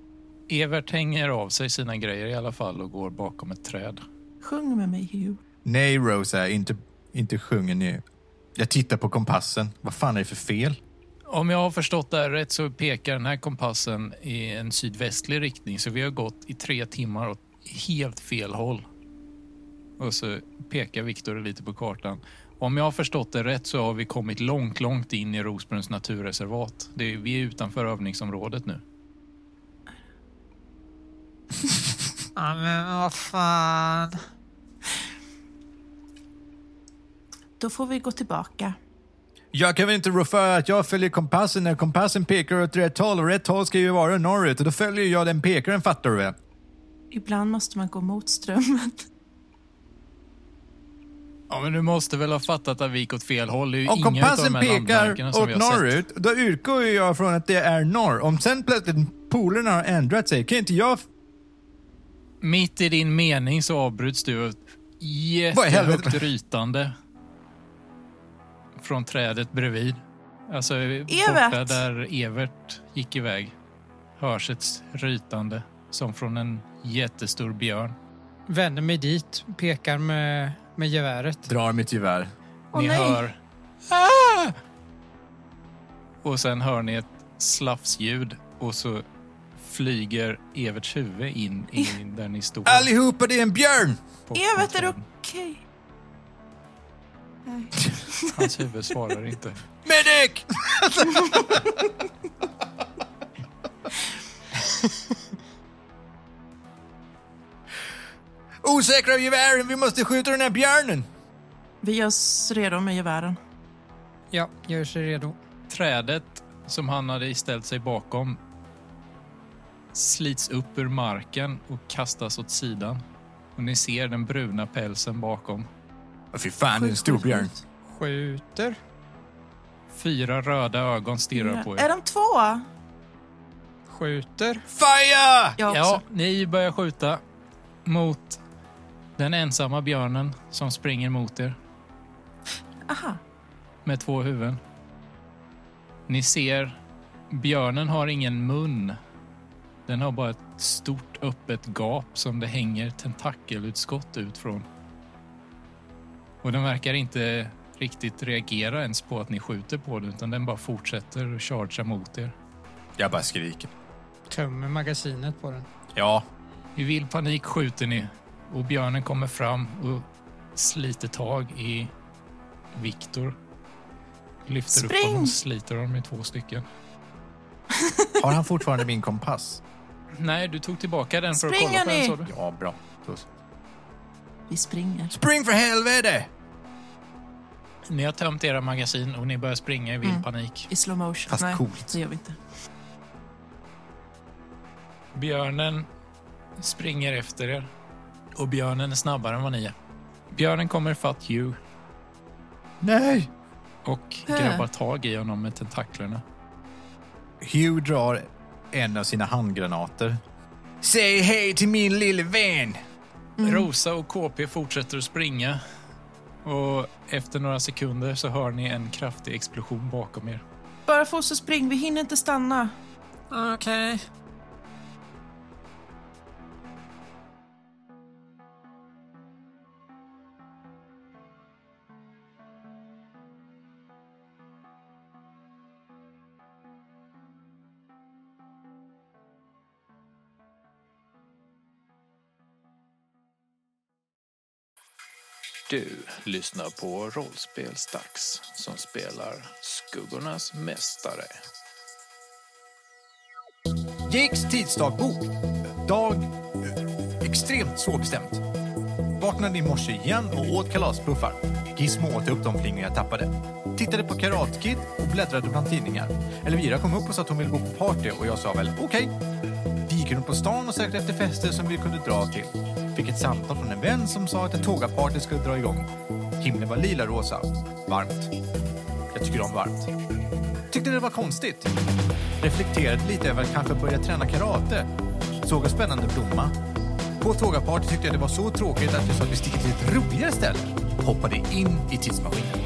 Speaker 1: Evert hänger av sig sina grejer i alla fall och går bakom ett träd.
Speaker 3: Sjung med mig, Hugh.
Speaker 4: Nej, Rosa, inte, inte sjunger ni. Jag tittar på kompassen. Vad fan är det för fel?
Speaker 1: Om jag har förstått det här rätt så pekar den här kompassen i en sydvästlig riktning så vi har gått i tre timmar åt helt fel håll. Och så pekar Viktor lite på kartan. Om jag har förstått det rätt så har vi kommit långt, långt in i Rosbruns naturreservat. Det är, vi är utanför övningsområdet nu.
Speaker 2: Ja, men vad fan.
Speaker 3: Då får vi gå tillbaka.
Speaker 4: Jag kan väl inte rå för att jag följer kompassen när kompassen pekar åt rätt håll och rätt håll ska ju vara norrut och då följer jag den pekaren, fattar du väl?
Speaker 3: Ibland måste man gå mot strömmen.
Speaker 1: Ja, men du måste väl ha fattat att vi gick åt fel håll. Det är ju
Speaker 4: Om
Speaker 1: inga utav
Speaker 4: kompassen
Speaker 1: de här
Speaker 4: pekar
Speaker 1: landmärkena som vi
Speaker 4: åt
Speaker 1: har sett.
Speaker 4: norrut, då utgår ju jag från att det är norr. Om sen plötsligt polerna har ändrat sig, kan inte jag... f-
Speaker 1: Mitt i din mening så avbryts du av ett
Speaker 4: Vad i helvete?
Speaker 1: jättehögt rytande från trädet bredvid. Alltså borta
Speaker 3: Evert!
Speaker 1: där Evert gick iväg hörs ett rytande som från en jättestor björn.
Speaker 2: Vänder mig dit, pekar med, med geväret.
Speaker 4: Drar mitt gevär.
Speaker 3: Åh,
Speaker 1: ni
Speaker 3: nej.
Speaker 1: hör... Ah! Och sen hör ni ett slafsljud och så flyger Everts huvud in i där ni står.
Speaker 4: Allihopa, det är en björn!
Speaker 1: på
Speaker 3: Evert, är det
Speaker 1: kontrollen.
Speaker 3: okej?
Speaker 1: Hans huvud svarar inte.
Speaker 4: Medic! Osäkra av gevären, vi måste skjuta den här björnen!
Speaker 3: Vi gör oss redo med gevären.
Speaker 2: Ja, gör sig redo.
Speaker 1: Trädet som han hade ställt sig bakom slits upp ur marken och kastas åt sidan. Och ni ser den bruna pälsen bakom.
Speaker 5: Oh, fy fan, det är en stor björn.
Speaker 2: Skjuter.
Speaker 1: Fyra röda ögon stirrar på
Speaker 3: Är
Speaker 1: er.
Speaker 3: de två?
Speaker 2: Skjuter.
Speaker 4: Fire!
Speaker 3: Jag också.
Speaker 1: Ja, ni börjar skjuta mot den ensamma björnen som springer mot er
Speaker 3: Aha.
Speaker 1: med två huvuden. Ni ser, björnen har ingen mun. Den har bara ett stort öppet gap som det hänger tentakelutskott ut från. Och den verkar inte riktigt reagera ens på att ni skjuter på den utan den bara fortsätter och chargear mot er.
Speaker 5: Jag bara skriker.
Speaker 2: Tömmer magasinet på den.
Speaker 5: Ja,
Speaker 1: I vild panik skjuter ni och björnen kommer fram och sliter tag i Viktor. Lyfter upp
Speaker 3: Spring!
Speaker 1: honom och sliter honom i två stycken.
Speaker 4: Har han fortfarande min kompass?
Speaker 1: Nej, du tog tillbaka den för
Speaker 3: Springer
Speaker 1: att kolla på
Speaker 3: ni?
Speaker 1: den, sa du.
Speaker 4: Ja, bra. Då-
Speaker 3: Vi springer.
Speaker 4: Spring för helvete!
Speaker 1: Ni har tömt era magasin och ni börjar springa i vild panik.
Speaker 3: I slow motion.
Speaker 4: Fast
Speaker 3: Nej,
Speaker 4: coolt.
Speaker 3: det gör vi inte.
Speaker 1: Björnen springer efter er och björnen är snabbare än vad ni är. Björnen kommer fatt Hugh
Speaker 4: Nej!
Speaker 1: och
Speaker 3: Äh.
Speaker 1: grabbar tag i honom med tentaklerna.
Speaker 4: Hugh drar en av sina handgranater. Säg hej till min lille vän!
Speaker 1: Mm. Rosa och KP fortsätter att springa och efter några sekunder så hör ni en kraftig explosion bakom er.
Speaker 3: Bara få så spring, vi hinner inte stanna.
Speaker 2: Okej.
Speaker 1: Du lyssnar på Rollspelsdags som spelar Skuggornas Mästare.
Speaker 5: Jakes tidsdagbok. Dag... eh, Extremt svårbestämt.
Speaker 4: Vaknade i morse igen och åt kalaspuffar. Gizmo åt upp de flingor jag tappade. Tittade på Karate Kid och bläddrade bland tidningar. Elvira kom upp och sa att hon ville gå på party och jag sa väl okej. Vi gick runt på stan och sökte efter fester som vi kunde dra till. Fick ett samtal från en vän som sa att en tågaparty skulle dra igång. Himlen var lila-rosa. Varmt. Jag tycker om varmt. Tyckte det var konstigt. Reflekterade lite över att kanske börja träna karate. Såg en spännande blomma. På tågaparty tyckte jag det var så tråkigt att jag sa att vi sticker till ett roligare ställe. Hoppade in i tidsmaskinen.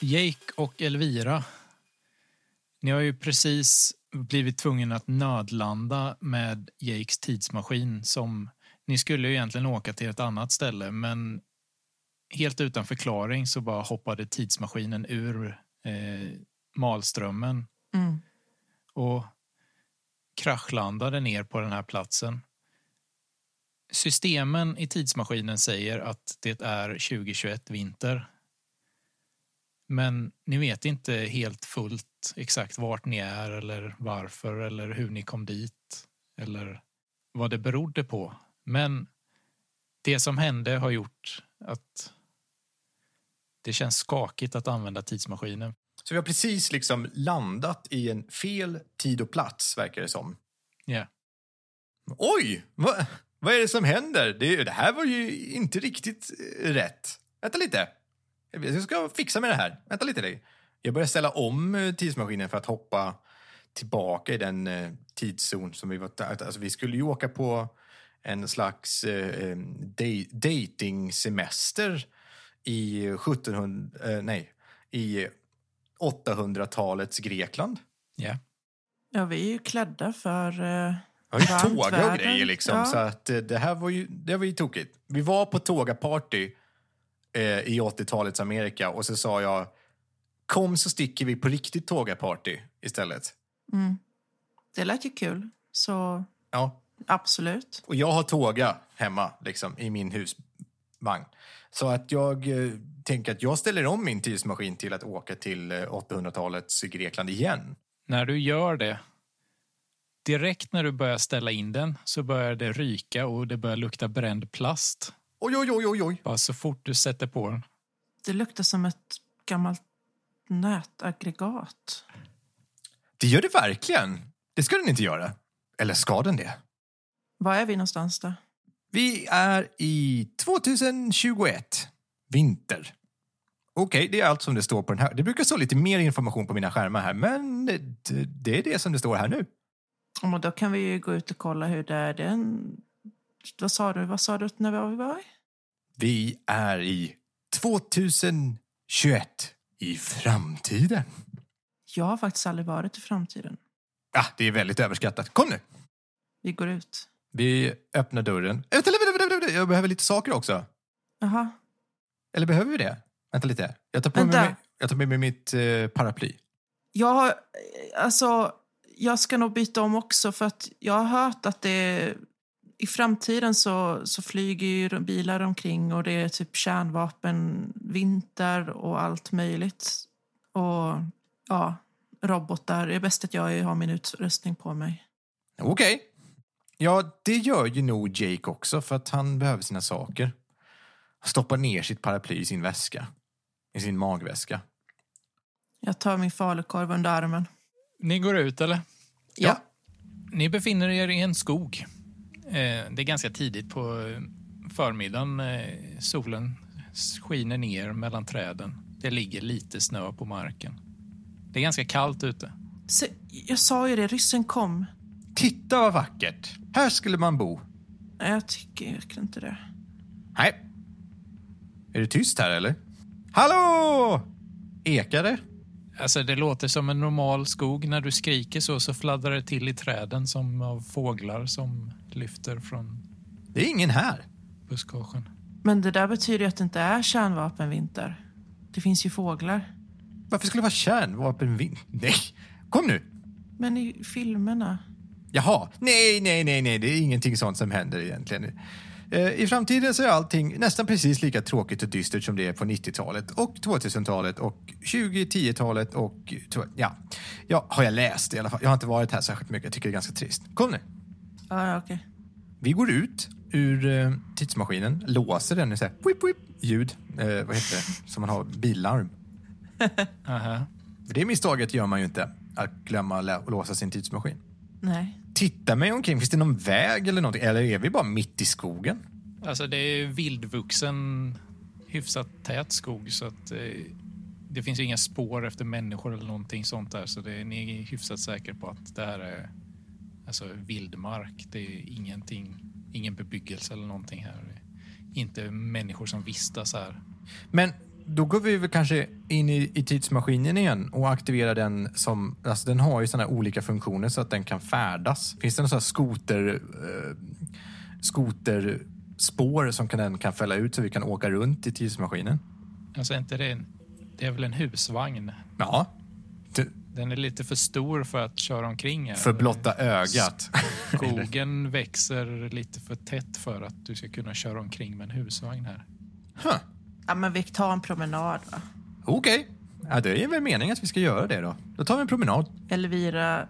Speaker 1: Jake och Elvira, ni har ju precis blivit tvungen att nödlanda med Jakes tidsmaskin som ni skulle ju egentligen åka till ett annat ställe men helt utan förklaring så bara hoppade tidsmaskinen ur eh, malströmmen
Speaker 3: Mm.
Speaker 1: och kraschlandade ner på den här platsen. Systemen i tidsmaskinen säger att det är 2021 vinter. Men ni vet inte helt fullt exakt vart ni är eller varför eller hur ni kom dit eller vad det berodde på. Men det som hände har gjort att det känns skakigt att använda tidsmaskinen
Speaker 4: Så vi har precis liksom landat i en fel tid och plats, verkar det som.
Speaker 1: Ja.
Speaker 4: Oj! Vad, vad är det som händer? Det, det här var ju inte riktigt eh, rätt. Vänta lite. Jag ska fixa med det här. Vänta lite. Lägg. Jag börjar ställa om eh, tidsmaskinen för att hoppa tillbaka i den eh, tidszon som vi var... Alltså, vi skulle ju åka på en slags eh, eh, dej- datingsemester i 1700... Eh, nej, i 800-talets Grekland.
Speaker 1: Ja.
Speaker 3: Ja, vi är ju klädda för... eh,
Speaker 4: Ja, ju
Speaker 3: Varmt
Speaker 4: tåga och
Speaker 3: väder.
Speaker 4: grejer liksom.
Speaker 3: Ja.
Speaker 4: Så att eh, det här var ju, det var ju tokigt. Vi var på tågaparty eh, i 80-talets Amerika och så sa jag kom så sticker vi på riktigt tågaparty istället.
Speaker 3: mm. Det lät ju kul, så
Speaker 4: Ja,
Speaker 3: absolut.
Speaker 4: och jag har tåga hemma liksom i min husvagn. Så att jag eh, tänker att jag ställer om min tidsmaskin till att åka till eh, 800-talets Grekland igen.
Speaker 1: När du gör det, direkt när du börjar ställa in den så börjar det ryka och det börjar lukta bränd plast.
Speaker 4: Oj, oj, oj, oj, oj.
Speaker 1: Bara så fort du sätter på den.
Speaker 3: Det luktar som ett gammalt nätaggregat.
Speaker 4: Det gör det verkligen. Det ska den inte göra. Eller ska den det?
Speaker 3: Var är vi någonstans då?
Speaker 4: Vi är i 2021. Vinter. Okej, det är allt som det står på den här. Det brukar stå lite mer information på mina skärmar här, men det, det är det som det står här nu.
Speaker 3: Ja, men då kan vi ju gå ut och kolla hur det är. Det är en... Vad sa du? Vad sa du när vi var i?
Speaker 4: Vi är i 2021. I framtiden.
Speaker 3: Jag har faktiskt aldrig varit i framtiden.
Speaker 4: Ah, det är väldigt överskattat. Kom nu!
Speaker 3: Vi går ut.
Speaker 4: Vi öppnar dörren. Vänta, vänta, vänta, vänta, vänta. Jag behöver lite saker också.
Speaker 3: Jaha.
Speaker 4: Eller behöver vi det? Vänta lite. Jag tar, på
Speaker 3: Vänta.
Speaker 4: mig, jag tar med mig mitt eh, paraply.
Speaker 3: Jag har... eh, Alltså, jag ska nog byta om också för att jag har hört att det... I framtiden så, så flyger ju bilar omkring och det är typ kärnvapenvinter och allt möjligt. Och ja, robotar. Det är bäst att jag har min utrustning på mig.
Speaker 4: Okej. Ja, det gör ju nog Jake också för att han behöver sina saker. Han stoppar ner sitt paraply i sin väska. I sin magväska.
Speaker 3: Jag tar min falukorv under armen.
Speaker 1: Ni går ut, eller?
Speaker 3: Ja.
Speaker 1: Ni befinner er i en skog. Eh, Det är ganska tidigt på eh, förmiddagen. Eh, Solen skiner ner mellan träden. Det ligger lite snö på marken. Det är ganska kallt ute.
Speaker 3: Så, jag sa ju det, ryssen kom.
Speaker 4: Titta vad vackert! Här skulle man bo.
Speaker 3: Nej, jag tycker verkligen inte det.
Speaker 4: Nej. Är det tyst här eller? Hallå! Ekar det?
Speaker 1: Alltså det låter som en normal skog. När du skriker så, så fladdrar det till i träden som av fåglar som lyfter från
Speaker 4: Det är ingen här.
Speaker 1: buskagen.
Speaker 3: Men det där betyder ju att det inte är kärnvapenvinter. Det finns ju fåglar.
Speaker 4: Varför skulle det vara kärnvapenvind? Nej, kom nu!
Speaker 3: Men i filmerna...
Speaker 4: Jaha, nej, nej, nej, nej, det är ingenting sånt som händer egentligen. Eh, I framtiden så är allting nästan precis lika tråkigt och dystert som det är på 90-talet och 2000-talet och 2010-talet och... tw- Ja. ja, har jag läst i alla fall. Jag har inte varit här särskilt mycket. Jag tycker det är ganska trist. Kom nu!
Speaker 3: Ja, ja, okej.
Speaker 4: Vi går ut ur eh, tidsmaskinen, låser den i så här, whip, whip, ljud, eh, vad heter det, som man har, billarm.
Speaker 1: Aha.
Speaker 4: För det misstaget gör man ju inte, att glömma lä- att låsa sin tidsmaskin.
Speaker 3: Nej.
Speaker 4: Titta mig omkring, finns det någon väg eller någonting? Eller är vi bara mitt i skogen?
Speaker 1: Alltså det är vildvuxen, hyfsat tät skog så att eh, det finns ju inga spår efter människor eller någonting sånt där. Så det, ni är hyfsat säkra på att det här är alltså, vildmark. Det är ingenting, ingen bebyggelse eller någonting här. Inte människor som vistas här.
Speaker 4: Men då går vi väl kanske in i, i tidsmaskinen igen och aktiverar den som, alltså den har ju sådana olika funktioner så att den kan färdas. Finns det någon sån här skoter, eh, skoterspår som kan, den kan fälla ut så vi kan åka runt i tidsmaskinen?
Speaker 1: Alltså är inte det, en, det är väl en husvagn?
Speaker 4: Ja. T-
Speaker 1: Den är lite för stor för att köra omkring här.
Speaker 4: för blotta ögat.
Speaker 1: Skogen växer lite för tätt för att du ska kunna köra omkring med en husvagn här.
Speaker 4: Huh.
Speaker 3: Ja, men vi tar en promenad, va?
Speaker 4: Okej. Ja, det är väl meningen att vi ska göra det då. Då tar vi en promenad.
Speaker 3: Elvira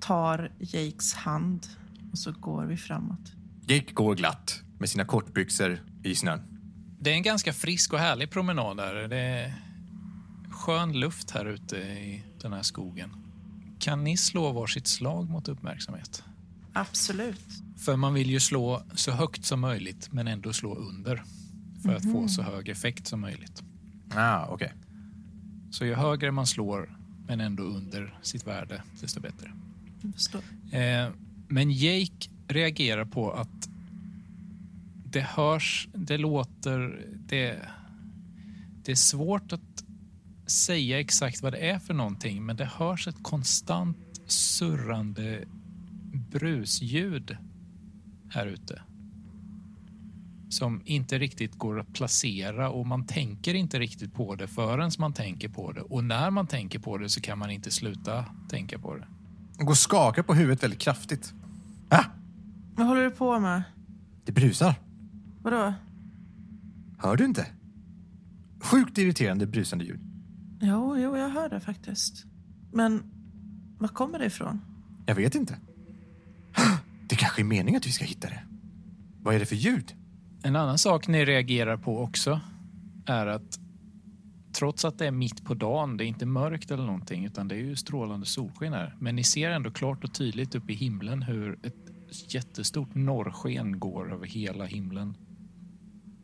Speaker 3: tar Jakes hand och så går vi framåt.
Speaker 4: Jake går glatt med sina kortbyxor i snön.
Speaker 1: Det är en ganska frisk och härlig promenad här. Det är skön luft här ute i den här skogen. Kan ni slå varsitt slag mot uppmärksamhet?
Speaker 3: Absolut.
Speaker 1: För man vill ju slå så högt som möjligt men ändå slå under för att få så hög effekt som möjligt.
Speaker 4: Ah, okej.
Speaker 1: Så ju högre man slår men ändå under sitt värde, desto bättre.
Speaker 3: Jag förstår.
Speaker 1: Eh, men Jake reagerar på att det hörs, det låter, det, det är svårt att säga exakt vad det är för någonting, men det hörs ett konstant surrande brusljud här ute. Som inte riktigt går att placera och man tänker inte riktigt på det förrän man tänker på det. Och när man tänker på det så kan man inte sluta tänka på det.
Speaker 4: Han går och skakar på huvudet väldigt kraftigt. Ah,
Speaker 3: Vad håller du på med?
Speaker 4: det brusar.
Speaker 3: Vadå?
Speaker 4: Hör du inte? Sjukt irriterande brusande ljud.
Speaker 3: Jo, jo, jag hör det faktiskt. Men var kommer det ifrån?
Speaker 4: Jag vet inte. Ah, Det kanske är meningen att vi ska hitta det. Vad är det för ljud?
Speaker 1: En annan sak ni reagerar på också är att trots att det är mitt på dagen, det är inte mörkt eller någonting utan det är ju strålande solsken här. Men ni ser ändå klart och tydligt upp i himlen hur ett jättestort norrsken går över hela himlen.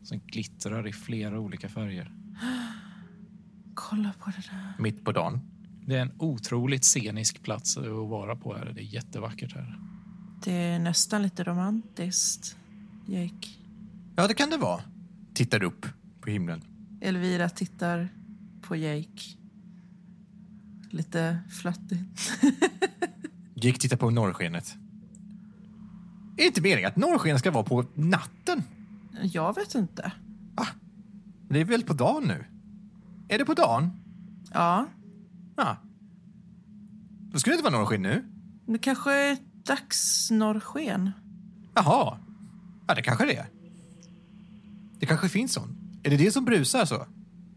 Speaker 1: Som glittrar i flera olika färger.
Speaker 3: Kolla på det där.
Speaker 4: Mitt på dagen.
Speaker 1: Det är en otroligt scenisk plats att vara på här. Det är jättevackert här.
Speaker 3: Det är nästan lite romantiskt, Jake.
Speaker 4: Ja, det kan det vara. Tittar upp på himlen.
Speaker 3: Elvira tittar på Jake. Lite flörtigt.
Speaker 4: Gick tittar på norrskenet. Är det inte meningen att norrsken ska vara på natten?
Speaker 3: Jag vet inte.
Speaker 4: Det är väl på dagen nu? Är det på dagen?
Speaker 3: Ja,
Speaker 4: Ja. Då skulle det inte vara norrsken nu.
Speaker 3: det kanske är ett dagsnorrsken.
Speaker 4: Jaha. Ja, det kanske det är. Det kanske finns sån. Är det det som brusar så?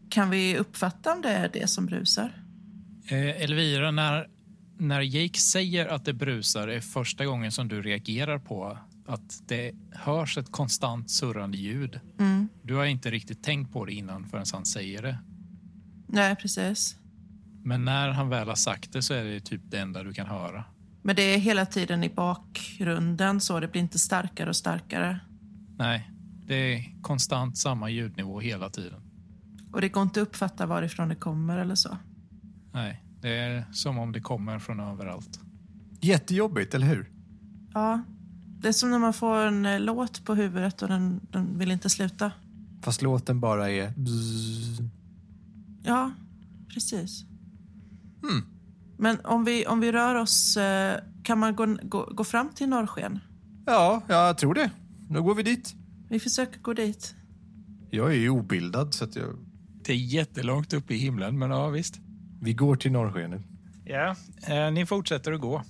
Speaker 3: Kan vi uppfatta om det är det som brusar?
Speaker 1: Eh, Elvira, när, när Jake säger att det brusar är första gången som du reagerar på att det hörs ett konstant surrande ljud.
Speaker 3: Mm.
Speaker 1: Du har inte riktigt tänkt på det innan förrän han säger det.
Speaker 3: Nej, precis.
Speaker 1: Men när han väl har sagt det så är det typ det enda du kan höra.
Speaker 3: Men det är hela tiden i bakgrunden så det blir inte starkare och starkare.
Speaker 1: Nej, det är konstant samma ljudnivå hela tiden.
Speaker 3: Och det går inte att uppfatta varifrån det kommer eller så.
Speaker 1: Nej, det är som om det kommer från överallt.
Speaker 4: Jättejobbigt, eller hur?
Speaker 3: Ja, det är som när man får en eh, låt på huvudet och den, den vill inte sluta.
Speaker 4: Fast låten bara är... bzzz.
Speaker 3: Ja, precis. Men om vi, om vi rör oss, eh, kan man gå, gå, gå fram till norrsken?
Speaker 4: Ja, jag tror det. Då går vi dit.
Speaker 3: Vi försöker gå dit.
Speaker 4: Jag är ju obildad, så att jag...
Speaker 1: Det är jättelångt upp i himlen, men ja visst.
Speaker 4: Vi går till norrskenet.
Speaker 1: Ja, eh, ni fortsätter att gå.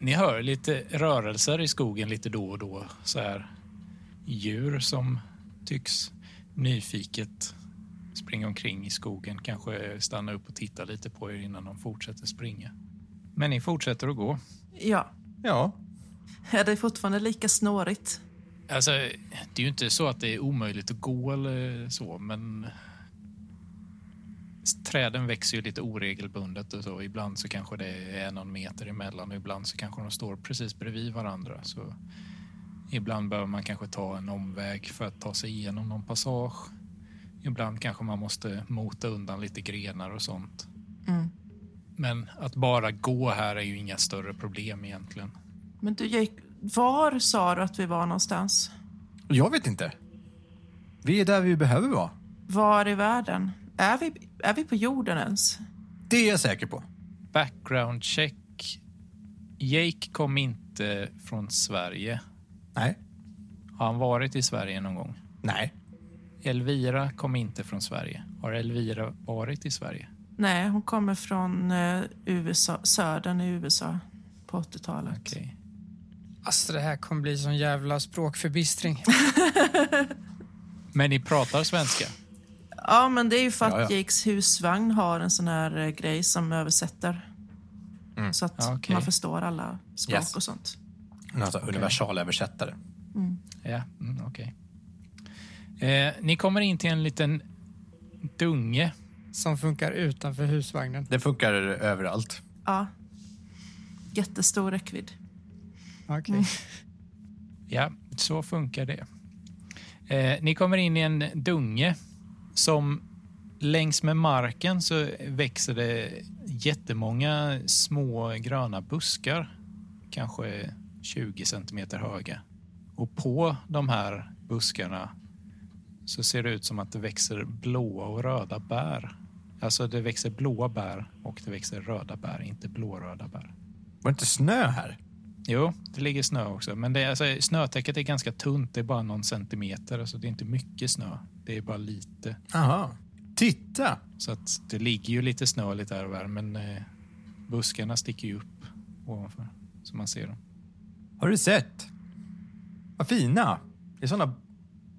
Speaker 1: Ni hör lite rörelser i skogen lite då och då. Så här djur som tycks nyfiket springa omkring i skogen. Kanske stanna upp och titta lite på er innan de fortsätter springa. Men ni fortsätter att gå.
Speaker 3: Ja,
Speaker 4: Ja.
Speaker 3: Är det fortfarande lika snårigt?
Speaker 1: Alltså, det är ju inte så att det är omöjligt att gå eller så, men träden växer ju lite oregelbundet och så. Ibland så kanske det är någon meter emellan och ibland så kanske de står precis bredvid varandra. Så ibland behöver man kanske ta en omväg för att ta sig igenom någon passage. Ibland kanske man måste mota undan lite grenar och sånt.
Speaker 3: Mm.
Speaker 1: Men att bara gå här är ju inga större problem egentligen.
Speaker 3: Men du Jake, var sa du att vi var någonstans?
Speaker 4: Jag vet inte. Vi är där vi behöver vara.
Speaker 3: Var i världen? Är vi, är vi på jorden ens?
Speaker 4: Det är jag säker på.
Speaker 1: Background check. Jake kom inte från Sverige.
Speaker 4: Nej.
Speaker 1: Har han varit i Sverige någon gång?
Speaker 4: Nej.
Speaker 1: Elvira kom inte från Sverige. Har Elvira varit i Sverige?
Speaker 3: Nej, hon kommer från eh, USA, södern i USA på 80-talet.
Speaker 1: Okej.
Speaker 2: Alltså det här kommer bli sån jävla språkförbistring.
Speaker 1: Men ni pratar svenska?
Speaker 3: Ja, men det är ju för att
Speaker 4: Ja, ja.
Speaker 3: Jakes husvagn har en sån här eh, grej som översätter. Så att
Speaker 1: Ja, okej.
Speaker 3: man förstår alla språk
Speaker 4: Mm. Yes.
Speaker 3: och sånt.
Speaker 4: Alltså, universalöversättare.
Speaker 1: Ja, mm, okej. Eh, ni kommer in till en liten dunge.
Speaker 2: Som funkar utanför husvagnen.
Speaker 4: Det funkar överallt.
Speaker 3: Ja. Jättestor räckvidd.
Speaker 2: Okej.
Speaker 1: Ja, så funkar det. Eh, ni kommer in i en dunge som längs med marken så växer det jättemånga små gröna buskar. Kanske 20 centimeter höga. Och på de här buskarna så ser det ut som att det växer blåa och röda bär. Alltså det växer blåa bär och det växer röda bär, inte blåröda bär.
Speaker 4: Var det inte snö här?
Speaker 1: Jo, det ligger snö också. Men det är, alltså, snötäcket är ganska tunt. Det är bara någon centimeter. Alltså, det är inte mycket snö. Det är bara lite.
Speaker 4: Aha. Titta!
Speaker 1: Så att det ligger ju lite snö lite här och där. Men eh, buskarna sticker ju upp ovanför. Så man ser dem.
Speaker 4: Har du sett? Vad fina. Det är såna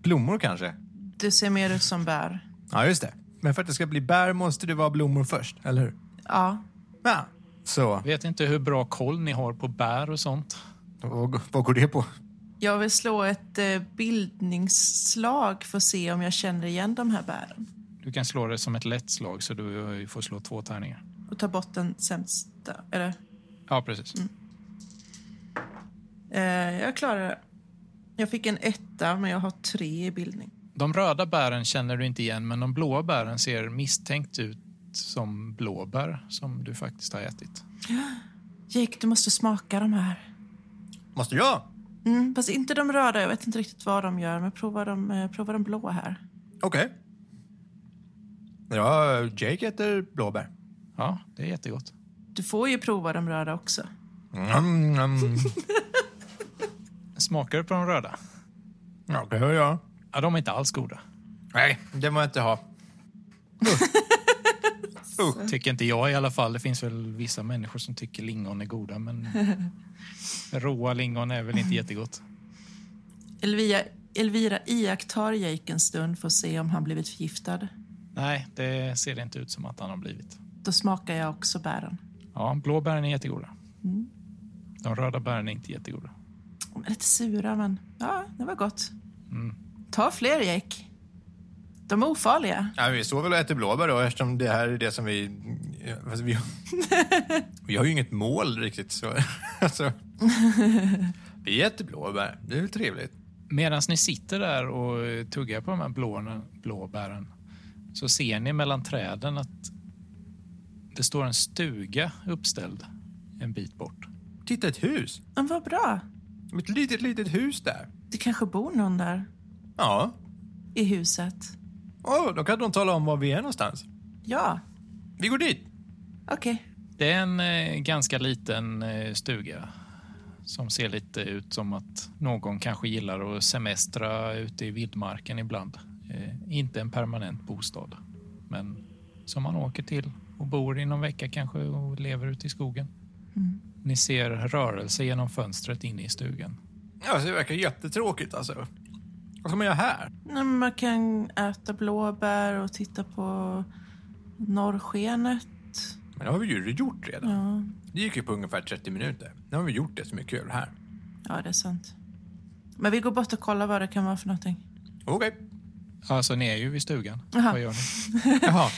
Speaker 4: blommor kanske.
Speaker 3: Du ser mer ut som bär.
Speaker 4: Ja, just det. Men för att det ska bli bär måste det vara blommor först, eller hur?
Speaker 3: Ja.
Speaker 4: Ja. Så,
Speaker 1: Vet inte hur bra koll ni har på bär och sånt.
Speaker 4: vad, vad går det på?
Speaker 3: Jag vill slå ett eh, bildningsslag för att se om jag känner igen de här bären.
Speaker 1: Du kan slå det som ett lätt slag så du eh, får slå två tärningar.
Speaker 3: Och ta bort den sämsta. Eller,
Speaker 1: Ja, precis.
Speaker 3: eh, jag klarar det. Jag fick en etta, men jag har tre i bildning.
Speaker 1: De röda bären känner du inte igen, men de blåa bären ser misstänkt ut som blåbär som du faktiskt har ätit.
Speaker 3: Jake, du måste smaka de här.
Speaker 4: Måste jag?
Speaker 3: Mm, fast inte de röda. Jag vet inte riktigt vad de gör, men prova de, eh, prova de blå här.
Speaker 4: Okej. Ja, Jake äter blåbär.
Speaker 1: Ja, det är jättegott.
Speaker 3: Du får ju prova de röda också.
Speaker 4: Mm, mm.
Speaker 1: Smakar du på de röda?
Speaker 4: Ja, det hör jag.
Speaker 1: Ja, de är inte alls goda.
Speaker 4: Nej, det må jag inte ha.
Speaker 1: Tycker inte jag i alla fall. Det finns väl vissa människor som tycker lingon är goda, men råa lingon är väl inte jättegott.
Speaker 3: Elvira, Elvira iakttar Jake en stund för att se om han blivit förgiftad.
Speaker 1: Nej, det ser det inte ut som att han har blivit.
Speaker 3: Då smakar jag också bären.
Speaker 1: Ja, blåbären är jättegoda. De röda bären är inte jättegoda.
Speaker 3: De är lite sura, men ja, det var gott. Ta fler, Jake. De är ofarliga.
Speaker 4: Ja, vi står väl och äter blåbär då, eftersom det här är det som vi... ja, fast Vi, vi har ju inget mål riktigt, så... Alltså, vi äter blåbär. Det är väl trevligt.
Speaker 1: Medan ni sitter där och eh, tuggar på de här blåna, blåbären så ser ni mellan träden att det står en stuga uppställd en bit bort.
Speaker 4: Titta, ett hus.
Speaker 3: Men vad bra.
Speaker 4: Ett litet, litet hus där.
Speaker 3: Det kanske bor någon där
Speaker 4: Ja.
Speaker 3: i huset.
Speaker 4: Oh, då kan de tala om var vi är någonstans.
Speaker 3: Ja,
Speaker 4: Vi går dit.
Speaker 3: okej.
Speaker 1: Det är en eh, ganska liten eh, stuga som ser lite ut som att någon kanske gillar att semestra ute i vildmarken ibland. Eh, inte en permanent bostad, men som man åker till och bor i någon vecka kanske och lever ute i skogen. Ni ser rörelse genom fönstret inne i stugan.
Speaker 4: Alltså, det verkar jättetråkigt alltså. Vad ska man göra här?
Speaker 3: Nej, men Man kan äta blåbär och titta på norrskenet.
Speaker 4: Men det har vi ju gjort redan.
Speaker 3: Ja.
Speaker 4: Det gick ju på ungefär 30 minuter. Nu har vi gjort det som är kul här.
Speaker 3: Ja, det är sant. Men vi går bort och kollar vad det kan vara för någonting.
Speaker 4: Okej.
Speaker 1: Alltså, ni är ju vid stugan.
Speaker 3: Jaha.
Speaker 1: Vad gör ni?
Speaker 6: Jaha.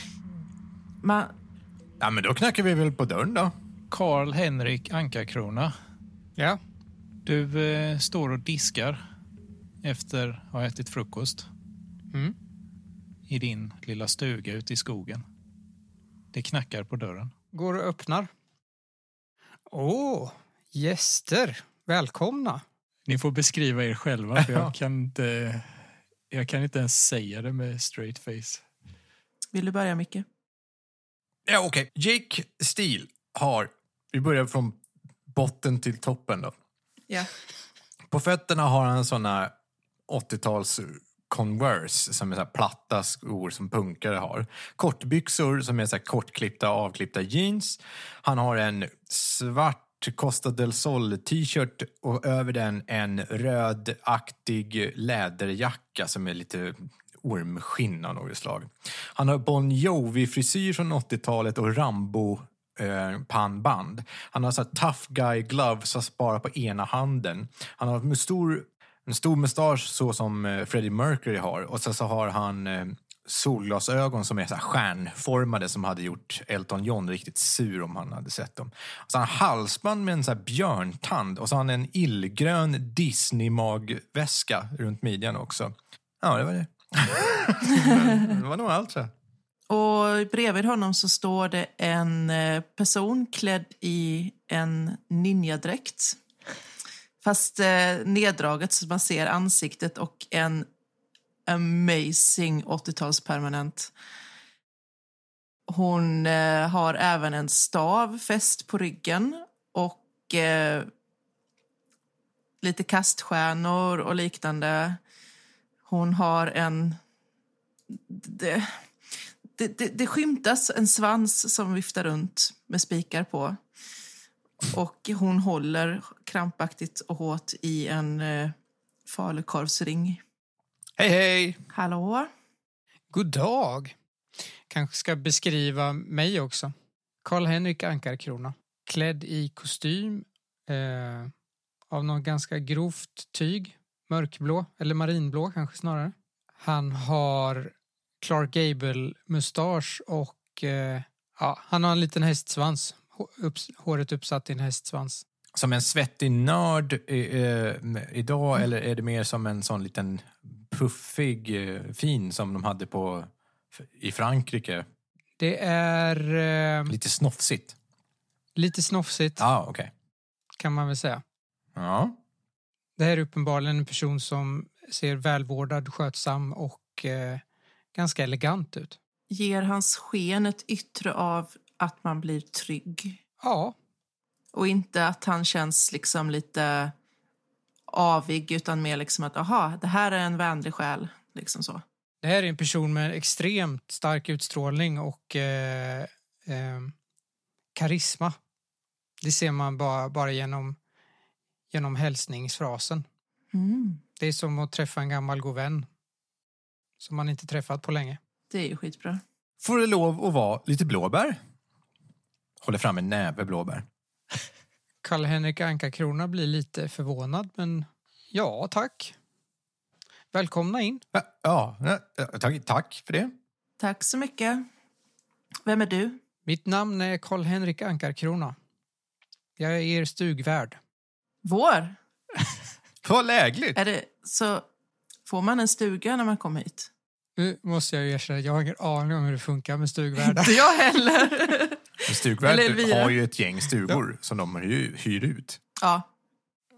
Speaker 3: Man,
Speaker 4: Ja, men då knackar vi väl på dörren då.
Speaker 1: Karl Henrik Ankarkrona,
Speaker 2: Ja.
Speaker 1: du eh, står och diskar efter att ha ätit frukost
Speaker 2: Mm.
Speaker 1: i din lilla stuga ute i skogen. Det knackar på dörren.
Speaker 2: Går och öppnar. Åh, gäster. Välkomna.
Speaker 1: Ni får beskriva er själva, för jag kan inte, jag kan inte ens säga det med straight face.
Speaker 3: vill du börja, Micke?
Speaker 4: Ja, okej. Jake Steele har... Vi börjar från botten till toppen då.
Speaker 3: Ja.
Speaker 4: På fötterna har han såna 80-tals Converse som är så här platta skor som punkare har. Kortbyxor som är så här kortklippta avklippta jeans. Han har en svart Costa del Sol t-shirt och över den en rödaktig läderjacka som är lite ormskinn av något slag. Han har Bon Jovi-frisyr från 80-talet och Rambo eh, pannband. Han har så här tough guy gloves, så bara på ena handen. Han har en stor, en stor mustasch så som eh, Freddie Mercury har och sen så har han eh, solglasögon som är så här stjärnformade som hade gjort Elton John riktigt sur om han hade sett dem. Och så har han halsband med en så här björntand och så har han en illgrön Disney-magväska runt midjan också. Ja, det var det. det var nog allt tror jag.
Speaker 3: Och bredvid honom så står det en eh, person klädd i en ninjadräkt. Fast eh, neddraget så man ser ansiktet och en amazing 80-talspermanent. Hon eh, har även en stav fäst på ryggen och eh, lite kaststjärnor och liknande. Hon har en... Det, det, det, det skymtas en svans som viftar runt med spikar på. Och hon håller krampaktigt och hårt i en eh, falukorvsring.
Speaker 6: Hej, hej!
Speaker 3: Hallå?
Speaker 2: God dag. Kanske ska beskriva mig också. Karl-Henrik Ankarkrona. Klädd i kostym eh, av något ganska grovt tyg. Mörkblå, eller marinblå kanske snarare. Han har Clark Gable-mustasch och eh, ja, han har en liten hästsvans. Hå- upps- Håret uppsatt i en hästsvans.
Speaker 4: som en svettig nörd eh, eh, idag eller är det mer som en sån liten puffig eh, fin som de hade på i Frankrike?
Speaker 2: Det är eh,
Speaker 4: Lite snofsigt.
Speaker 2: lite snofsigt
Speaker 4: Mm. Ja, ah, okej.
Speaker 2: kan man väl säga.
Speaker 4: Ja.
Speaker 2: Det här är uppenbarligen en person som ser välvårdad, skötsam och eh, ganska elegant ut.
Speaker 3: Ger hans sken ett yttre av att man blir trygg?
Speaker 2: Ja,
Speaker 3: Och inte att han känns liksom lite avig utan mer liksom att aha, det här är en vänlig själ. Liksom så.
Speaker 2: det här är en person med extremt stark utstrålning och eh, eh, karisma. Det ser man bara, bara genom, genom hälsningsfrasen.
Speaker 3: Mm.
Speaker 2: Det är som att träffa en gammal god vän som man inte träffat på länge.
Speaker 3: Det är ju skitbra.
Speaker 4: Får det lov att vara lite blåbär? Håller fram en näve blåbär.
Speaker 2: Karl-Henrik Anka-Krona blir lite förvånad, men ja, tack. Välkomna in.
Speaker 4: Ja, Ja, ja, tack, tack för det.
Speaker 3: Tack så mycket. Vem är du?
Speaker 2: Mitt namn är Karl-Henrik Ankarkrona. Jag är er stugvärd.
Speaker 3: Vår?
Speaker 4: Vad lägligt!
Speaker 3: Är det, så får man en stuga när man kommer hit?
Speaker 2: Nu måste jag ju erkänna, jag har ingen aning om hur det funkar med stugvärdar.
Speaker 3: Inte jag heller. Eller
Speaker 4: Stugvärden
Speaker 3: Elvira.
Speaker 4: har ju ett gäng stugor som de hyr, hyr ut.
Speaker 3: ja,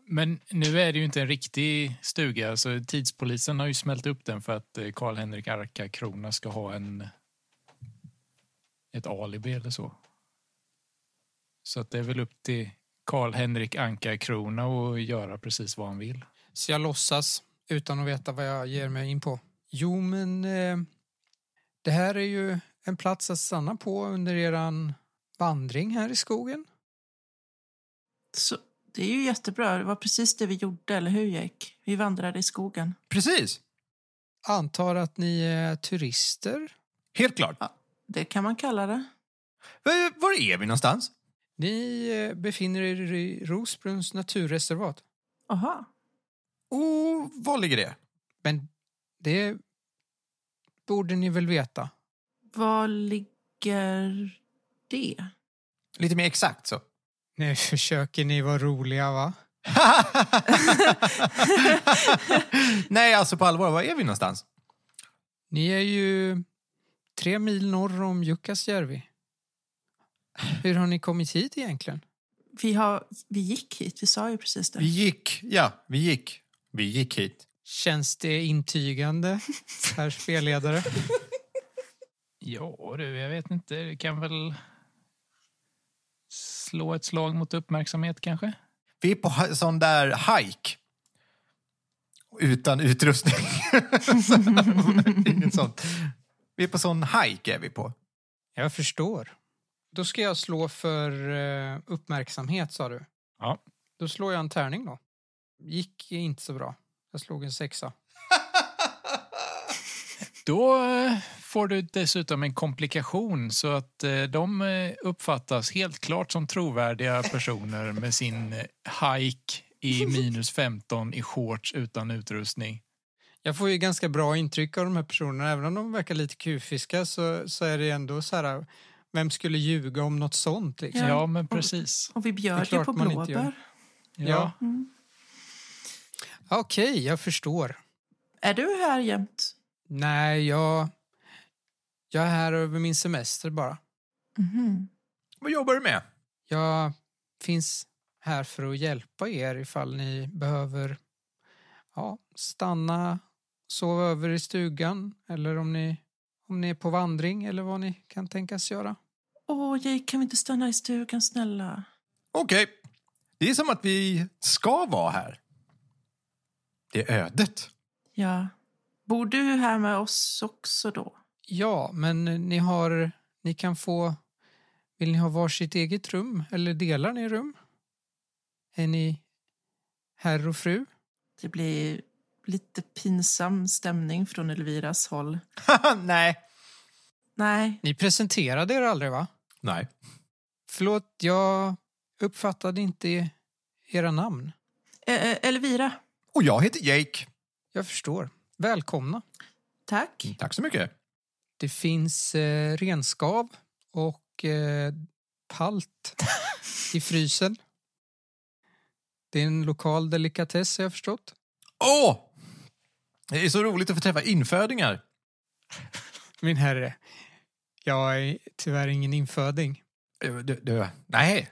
Speaker 1: Men nu är det ju inte en riktig stuga. Alltså, tidspolisen har ju smält upp den för att eh, Karl-Henrik Ankarkrona ska ha en, ett alibi eller så. Så att det är väl upp till Karl-Henrik Ankarkrona att göra precis vad han vill.
Speaker 2: Så jag låtsas utan att veta vad jag ger mig in på. Jo, men eh, det här är ju en plats att stanna på under eran vandring här i skogen.
Speaker 3: så, det är ju jättebra. Det var precis det vi gjorde, eller hur Jake? Vi vandrade i skogen.
Speaker 4: Precis!
Speaker 2: Antar att ni är turister?
Speaker 4: Helt klart.
Speaker 3: Det kan man kalla det.
Speaker 4: Var- Var är vi någonstans?
Speaker 2: Ni eh, befinner er i Rosbruns naturreservat.
Speaker 3: Aha.
Speaker 4: Och Oh, var ligger det?
Speaker 2: Men det borde ni väl veta?
Speaker 3: Var ligger det?
Speaker 4: Lite mer exakt så.
Speaker 2: Nu försöker ni vara roliga, va?
Speaker 4: Nej, alltså på allvar, var är vi någonstans?
Speaker 2: Ni är ju tre mil norr om Jukkasjärvi. Hur har ni kommit hit egentligen?
Speaker 3: Vi, har, vi gick hit, vi sa ju precis det.
Speaker 4: Vi gick, ja, vi gick. Vi gick hit.
Speaker 2: Känns det intygande, herr spelledare?
Speaker 1: Ja du, jag vet inte. Vi kan väl slå ett slag mot uppmärksamhet kanske?
Speaker 4: Vi är på ha- sån där hike. Utan utrustning. Så, Inget sånt. Vi är på sån hike är vi på.
Speaker 2: Jag förstår. Då ska jag slå för eh, uppmärksamhet, sa du.
Speaker 1: Ja.
Speaker 2: Då slår jag en tärning då. Gick inte så bra. Jag slog en sexa.
Speaker 1: Då eh, får du dessutom en komplikation så att eh, de eh, uppfattas helt klart som trovärdiga personer med sin eh, hike i minus 15 i shorts utan utrustning.
Speaker 2: Jag får ju ganska bra intryck av de här personerna. Även om de verkar lite kufiska så, så är det ändå så här... Vem skulle ljuga om något sånt? Liksom?
Speaker 1: Ja, men precis.
Speaker 3: Och vi
Speaker 2: Det är
Speaker 3: bjöd ju
Speaker 2: klart
Speaker 3: på
Speaker 2: man inte gör.
Speaker 3: blåbär.
Speaker 1: Ja.
Speaker 2: Okej, jag förstår.
Speaker 3: Är du här jämt?
Speaker 2: Nej, jag... Jag är här över min semester bara.
Speaker 3: Mhm.
Speaker 4: Vad jobbar du med?
Speaker 2: Jag finns här för att hjälpa er ifall ni behöver ja, stanna, sova över i stugan eller om ni, om ni är på vandring eller vad ni kan tänkas göra.
Speaker 3: Åh, Jake, kan vi inte stanna i stugan, snälla?
Speaker 4: Okej. Det är som att vi ska vara här. Det är ödet.
Speaker 3: Ja. Bor du här med oss också då?
Speaker 2: Ja, men ni har, ni kan få, vill ni ha varsitt eget rum eller delar ni rum? Är ni herr och fru?
Speaker 3: Det blir lite pinsam stämning från Elviras håll.
Speaker 4: Nej.
Speaker 3: Nej,
Speaker 2: Ni presenterade er aldrig va?
Speaker 4: Nej.
Speaker 2: Förlåt, jag uppfattade inte era namn.
Speaker 3: eh, eh, Elvira.
Speaker 4: Och jag heter Jake.
Speaker 2: Jag förstår. Välkomna.
Speaker 3: Tack.
Speaker 4: Tack så mycket.
Speaker 2: Det finns eh, renskav och eh, palt i frysen. Det är en lokal delikatess har jag förstått.
Speaker 4: Åh! Det är så roligt att få träffa infödingar.
Speaker 2: Min herre, jag är tyvärr ingen inföding.
Speaker 4: Eh, Du, du, nej.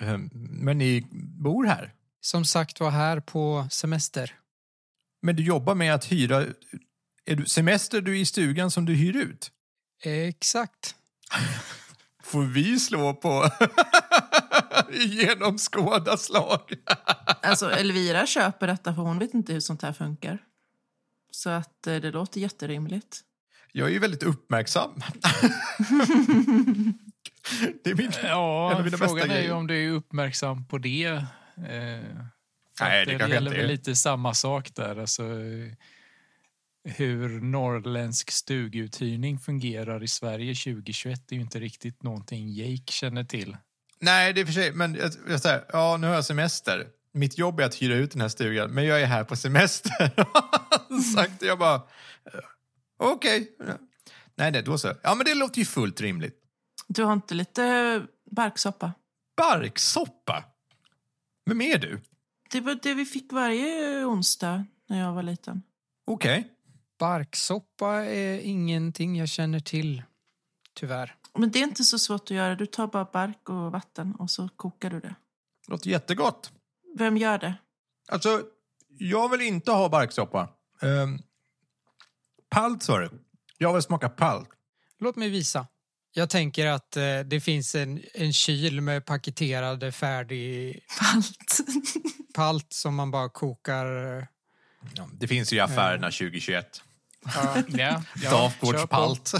Speaker 4: Eh, Men ni bor här.
Speaker 2: Som sagt var här på semester.
Speaker 4: Men du jobbar med att hyra... Är du, semester du är i stugan som du hyr ut?
Speaker 2: Exakt.
Speaker 4: Får vi slå på genomskåda slag?
Speaker 3: Alltså, Elvira köper detta för hon vet inte hur sånt här funkar. Så att eh, det låter jätterimligt.
Speaker 4: Jag är ju väldigt uppmärksam. det är min... En av
Speaker 1: Ja,
Speaker 4: mina bästa
Speaker 1: frågan är ju
Speaker 4: grejer.
Speaker 1: om du är uppmärksam på det. Eh, för
Speaker 4: Nej,
Speaker 1: att
Speaker 4: det
Speaker 1: det
Speaker 4: kanske
Speaker 1: gäller
Speaker 4: inte
Speaker 1: väl
Speaker 4: är.
Speaker 1: lite samma sak där. Alltså, eh, hur norrländsk stuguthyrning fungerar i Sverige 2021 är ju inte riktigt någonting Jake känner till.
Speaker 4: Nej, det är för sig. Men jag, jag säger, ja, nu har jag semester. Mitt jobb är att hyra ut den här stugan, men jag är här på semester. Sagt, jag bara... eh, Okej. Nej, nej, då så. Ja, men det låter ju fullt rimligt.
Speaker 3: Du har inte lite barksoppa?
Speaker 4: Barksoppa? Vem är du?
Speaker 3: Det var det vi fick varje onsdag när jag var liten.
Speaker 4: Okej.
Speaker 2: Barksoppa är ingenting jag känner till, tyvärr.
Speaker 3: Men det är inte så svårt att göra. Du tar bara bark och vatten och så kokar du det.
Speaker 4: Låter jättegott.
Speaker 3: Vem gör det?
Speaker 4: Alltså, jag vill inte ha barksoppa. Um, palt, sa du. Jag vill smaka palt.
Speaker 2: Låt mig visa. Jag tänker att eh, det finns en, en kyl med paketerade färdig
Speaker 3: Allt.
Speaker 2: palt som man bara kokar. eh,
Speaker 4: Ja, det finns ju i affärerna 2021.
Speaker 1: Ja, ja, kör på.
Speaker 4: Dagvårdspalt.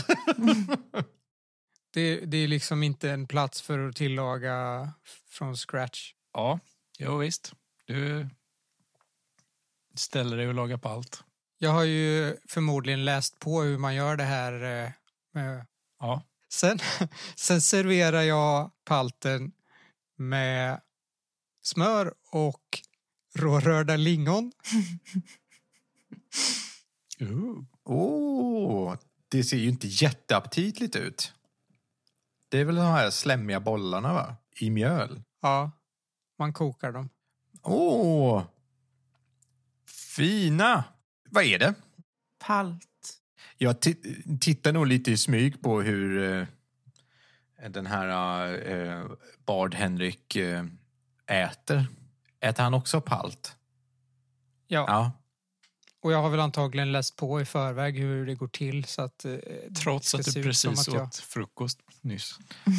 Speaker 2: Det, det är liksom inte en plats för att tillaga från scratch.
Speaker 1: Ja, jo, visst. Du ställer dig och lagar på allt.
Speaker 2: Jag har ju förmodligen läst på hur man gör det här. eh, Med.
Speaker 1: Ja.
Speaker 2: Sen, sen serverar jag palten med smör och rårörda lingon.
Speaker 1: Ooh.
Speaker 4: Åh, det ser ju inte jätteaptitligt ut. Det är väl de här slemmiga bollarna va? I mjöl.
Speaker 2: Ja, man kokar dem.
Speaker 4: Åh! Fina! Vad är det?
Speaker 3: Palt.
Speaker 4: Jag ti- tittar nog lite i smyg på hur eh, den här eh, Bard Henrik eh, äter. Äter han också palt?
Speaker 2: Ja,
Speaker 4: Ja.
Speaker 2: och jag har väl antagligen läst på i förväg hur det går till så att... eh, det
Speaker 1: Trots
Speaker 2: ska
Speaker 1: att
Speaker 2: se
Speaker 1: du
Speaker 2: ut som
Speaker 1: precis
Speaker 2: att jag-
Speaker 1: åt frukost nyss. Eh,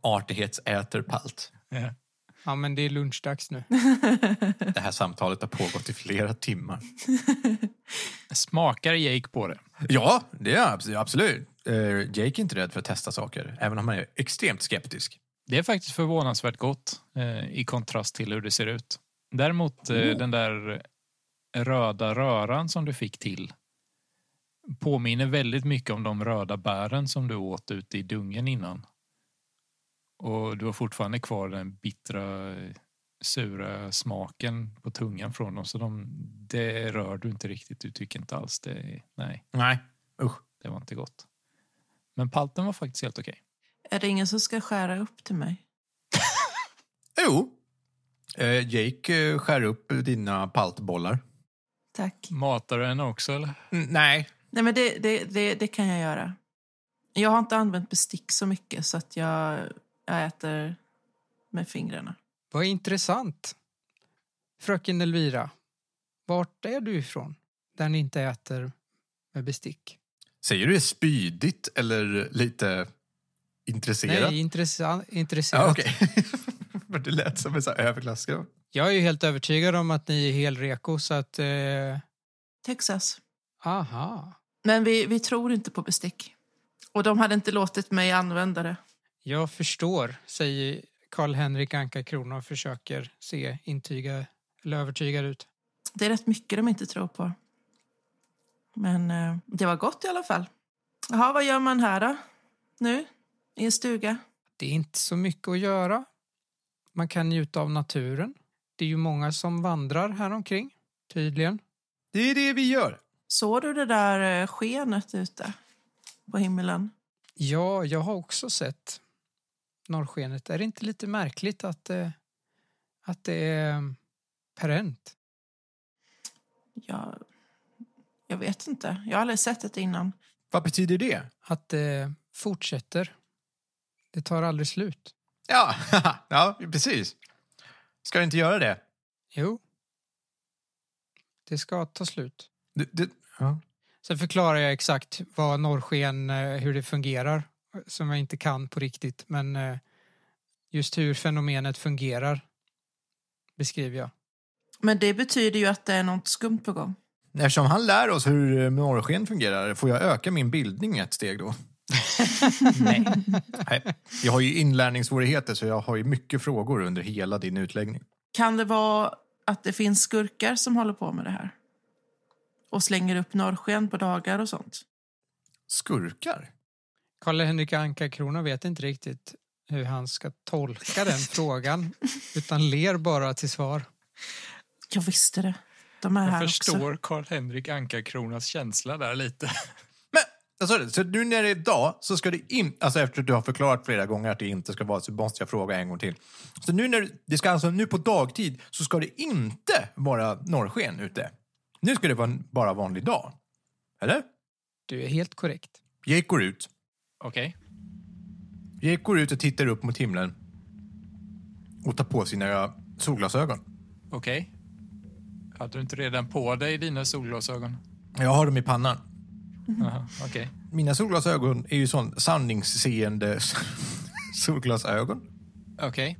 Speaker 4: Artighetsäter palt.
Speaker 1: Ja.
Speaker 2: Ja, men det är lunchdags nu.
Speaker 4: Det här samtalet har pågått i flera timmar.
Speaker 1: Smakar Jake på det?
Speaker 4: Ja, det är jag abs- absolut. Eh, Jake är inte rädd för att testa saker, även om han är extremt skeptisk.
Speaker 1: Det är faktiskt förvånansvärt gott eh, i kontrast till hur det ser ut. Däremot eh, den där röda röran som du fick till påminner väldigt mycket om de röda bären som du åt ute i dungen innan. Och du har fortfarande kvar den bittra, eh, sura smaken på tungan från dem. Så de, det rör du inte riktigt. Du tycker inte alls det. är- Nej,
Speaker 4: Nej, usch.
Speaker 1: det var inte gott. Men palten var faktiskt helt okej.
Speaker 3: Är det ingen som ska skära upp till mig?
Speaker 4: Jo. Eh, Jake eh, skär upp dina paltbollar.
Speaker 3: Tack.
Speaker 1: Matar du henne också eller?
Speaker 4: Mm, nej.
Speaker 3: Nej, men det, det, det, det kan jag göra. Jag har inte använt bestick så mycket så att jag, jag äter med fingrarna.
Speaker 2: Vad intressant. Fröken Elvira, vart är du ifrån? Där ni inte äter med bestick?
Speaker 4: Säger du det spydigt eller lite intresserat?
Speaker 2: Nej, intressa- intresserat.
Speaker 4: Ja, okej. Men det lät som en sån här överklassgrej.
Speaker 2: Jag är ju helt övertygad om att ni är helreko så att... Eh,
Speaker 3: Texas.
Speaker 2: aha.
Speaker 3: Men vi, vi tror inte på bestick. Och de hade inte låtit mig använda det.
Speaker 2: Jag förstår, säger Karl-Henrik Anka Krona och försöker se intyga eller övertygad ut.
Speaker 3: Det är rätt mycket de inte tror på. Men eh, det var gott i alla fall. Jaha, vad gör man här då? Nu? I en stuga?
Speaker 2: Det är inte så mycket att göra. Man kan njuta av naturen. Det är ju många som vandrar här omkring, tydligen.
Speaker 4: Det är det vi gör.
Speaker 3: Såg du det där eh, skenet ute på himlen?
Speaker 2: Ja, jag har också sett norrskenet. Är det inte lite märkligt att, eh, att det är eh, perent?
Speaker 3: Jag, jag vet inte. Jag har aldrig sett det innan.
Speaker 4: Vad betyder det?
Speaker 2: Att det fortsätter. Det tar aldrig slut.
Speaker 4: Ja, ja precis. Ska du inte göra det?
Speaker 2: Jo, det ska ta slut.
Speaker 4: Du, du, ja.
Speaker 2: Sen förklarar jag exakt vad norrsken, eh, hur det fungerar, som jag inte kan på riktigt. Men eh, just hur fenomenet fungerar beskriver jag.
Speaker 3: Men det betyder ju att det är något skumt på gång.
Speaker 4: Eftersom han lär oss hur eh, norrsken fungerar, får jag öka min bildning ett steg då? Nej. Nej. Jag har ju inlärningssvårigheter så jag har ju mycket frågor under hela din utläggning.
Speaker 3: Kan det vara att det finns skurkar som håller på med det här? Och slänger upp norrsken på dagar och sånt?
Speaker 4: Skurkar?
Speaker 2: Karl-Henrik Anka Krona vet inte riktigt hur han ska tolka den frågan utan ler bara till svar.
Speaker 3: Jag visste det. De är
Speaker 1: Jag
Speaker 3: här också.
Speaker 1: förstår Karl-Henrik Anka-Kronas känsla där lite.
Speaker 4: Men, jag sa det, så nu när det är dag så ska det inte, alltså efter att du har förklarat flera gånger att det inte ska vara så måste jag fråga en gång till. Så nu när, du- det ska alltså nu på dagtid så ska det inte vara norrsken ute. Nu ska det vara en bara vanlig dag. Eller?
Speaker 2: Du är helt korrekt.
Speaker 4: Jake går ut.
Speaker 1: Okej.
Speaker 4: Jake går ut och tittar upp mot himlen och tar på sina solglasögon.
Speaker 1: Okej. Hade du inte redan på dig dina solglasögon?
Speaker 4: Jag har dem i pannan.
Speaker 1: Aha, Okej.
Speaker 4: Mina solglasögon är ju sån sanningsseende solglasögon
Speaker 1: Okej.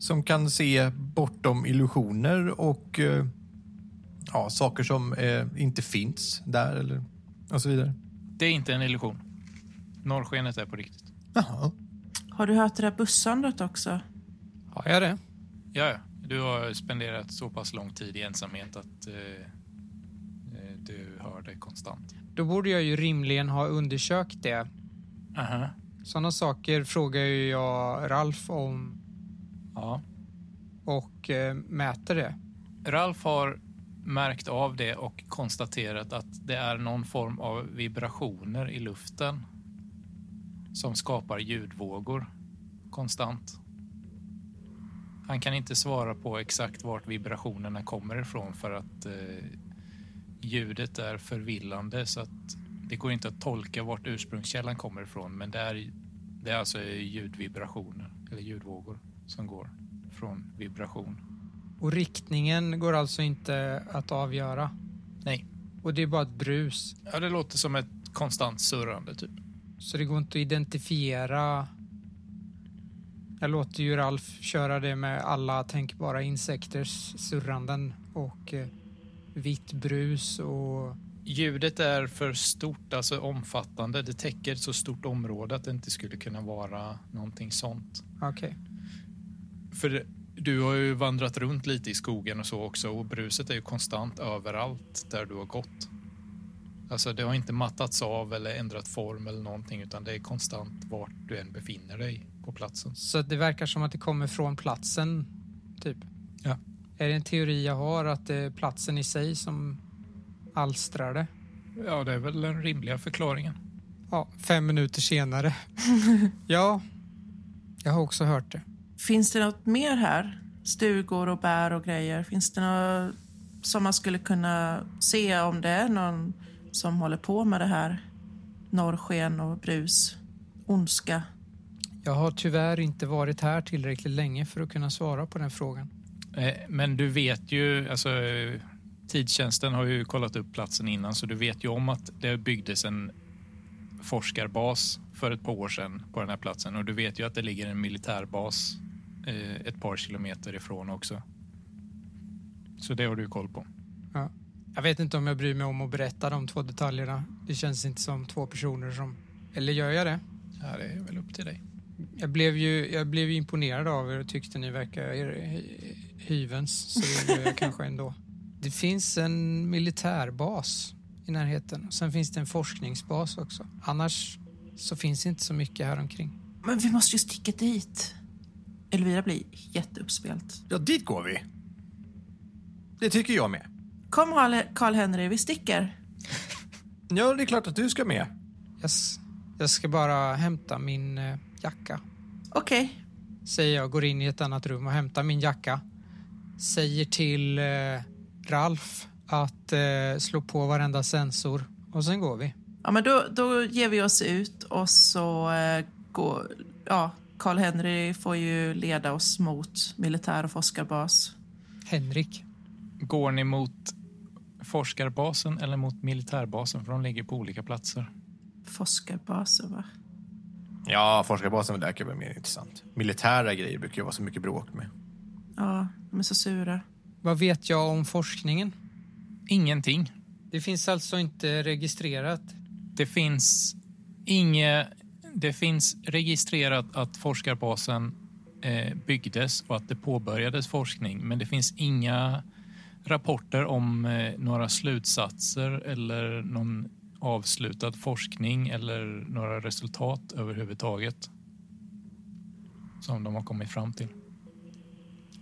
Speaker 4: som kan se bortom illusioner och eh, ja, saker som eh, inte finns där eller och så vidare.
Speaker 1: Det är inte en illusion. Norrskenet är på riktigt.
Speaker 4: Jaha.
Speaker 3: Har du hört det där bussandret också?
Speaker 2: Har jag det?
Speaker 1: Ja, ja. Du har spenderat så pass lång tid i ensamhet att eh, eh, du hör det konstant.
Speaker 2: Då borde jag ju rimligen ha undersökt det.
Speaker 1: Aha.
Speaker 2: Sådana saker frågar ju jag Ralf om
Speaker 1: Ja.
Speaker 2: och eh, mäter det.
Speaker 1: Ralf har märkt av det och konstaterat att det är någon form av vibrationer i luften som skapar ljudvågor konstant. Han kan inte svara på exakt vart vibrationerna kommer ifrån för att eh, ljudet är förvillande så att det går inte att tolka vart ursprungskällan kommer ifrån men det är, det är alltså ljudvibrationer eller ljudvågor som går från vibration.
Speaker 2: Och riktningen går alltså inte att avgöra.
Speaker 1: Nej.
Speaker 2: Och det är bara ett brus.
Speaker 1: Ja, det låter som ett konstant surrande typ.
Speaker 2: Så det går inte att identifiera. Jag låter ju Ralf köra det med alla tänkbara insekters surranden och eh, vitt brus och
Speaker 1: Ljudet är för stort, alltså omfattande. Det täcker ett så stort område att det inte skulle kunna vara någonting sånt.
Speaker 2: okej.
Speaker 1: För det- du har ju vandrat runt lite i skogen och så också och bruset är ju konstant överallt där du har gått. Alltså det har inte mattats av eller ändrat form eller någonting utan det är konstant vart du än befinner dig på platsen.
Speaker 2: Så att det verkar som att det kommer från platsen, typ.
Speaker 1: Ja.
Speaker 2: Är det en teori jag har att det är platsen i sig som alstrar det?
Speaker 1: Ja, det är väl den rimliga förklaringen.
Speaker 2: Ja, fem minuter senare. ja, jag har också hört det.
Speaker 3: Finns det något mer här? Stugor och bär och grejer. Finns det något som man skulle kunna se om det är någon som håller på med det här? Norrsken och brus, ondska.
Speaker 2: Jag har tyvärr inte varit här tillräckligt länge för att kunna svara på den frågan.
Speaker 1: Eh, Men du vet ju, alltså eh, tidstjänsten har ju kollat upp platsen innan så du vet ju om att det byggdes en forskarbas för ett par år sedan på den här platsen och du vet ju att det ligger en militärbas eh, ett par kilometer ifrån också. Så det har du ju koll på.
Speaker 2: Jag vet inte om jag bryr mig om att berätta de två detaljerna. Det känns inte som två personer som... Eller gör jag det?
Speaker 1: Ja, det är väl upp till dig.
Speaker 2: Jag blev ju, jag blev ju imponerad av er och tyckte ni verkar er- hyvens, så det gjorde jag kanske ändå. Det finns en militärbas i närheten och sen finns det en forskningsbas också. Annars så finns inte så mycket här omkring.
Speaker 3: Men vi måste ju sticka dit. Elvira blir jätteuppspelt.
Speaker 5: Ja, dit går vi. Det tycker jag med.
Speaker 3: Kom Karl-Henry, vi sticker.
Speaker 5: Ja, det är klart att du ska med.
Speaker 2: Jag, s- jag ska bara hämta min eh, jacka,
Speaker 3: Okej.
Speaker 2: säger jag, går in i ett annat rum och hämtar min jacka. Säger till eh, Ralf att eh, slå på varenda sensor och sen går vi.
Speaker 3: Ja, men då, då ger vi oss ut och så eh, går... Ja, Karl-Henry får ju leda oss mot militär och forskarbas.
Speaker 2: Henrik.
Speaker 1: Går ni mot forskarbasen eller mot militärbasen? För de ligger på olika platser.
Speaker 3: Forskarbaser, va?
Speaker 5: Ja, forskarbasen verkar vara mer intressant. Militära grejer brukar ju vara så mycket bråk med.
Speaker 3: Ja, de är så sura.
Speaker 2: Vad vet jag om forskningen?
Speaker 1: Ingenting.
Speaker 2: Det finns alltså inte registrerat.
Speaker 1: Det finns inge, Det finns registrerat att forskarbasen eh, byggdes och att det påbörjades forskning, men det finns inga rapporter om eh, några slutsatser eller någon avslutad forskning eller några resultat överhuvudtaget som de har kommit fram till.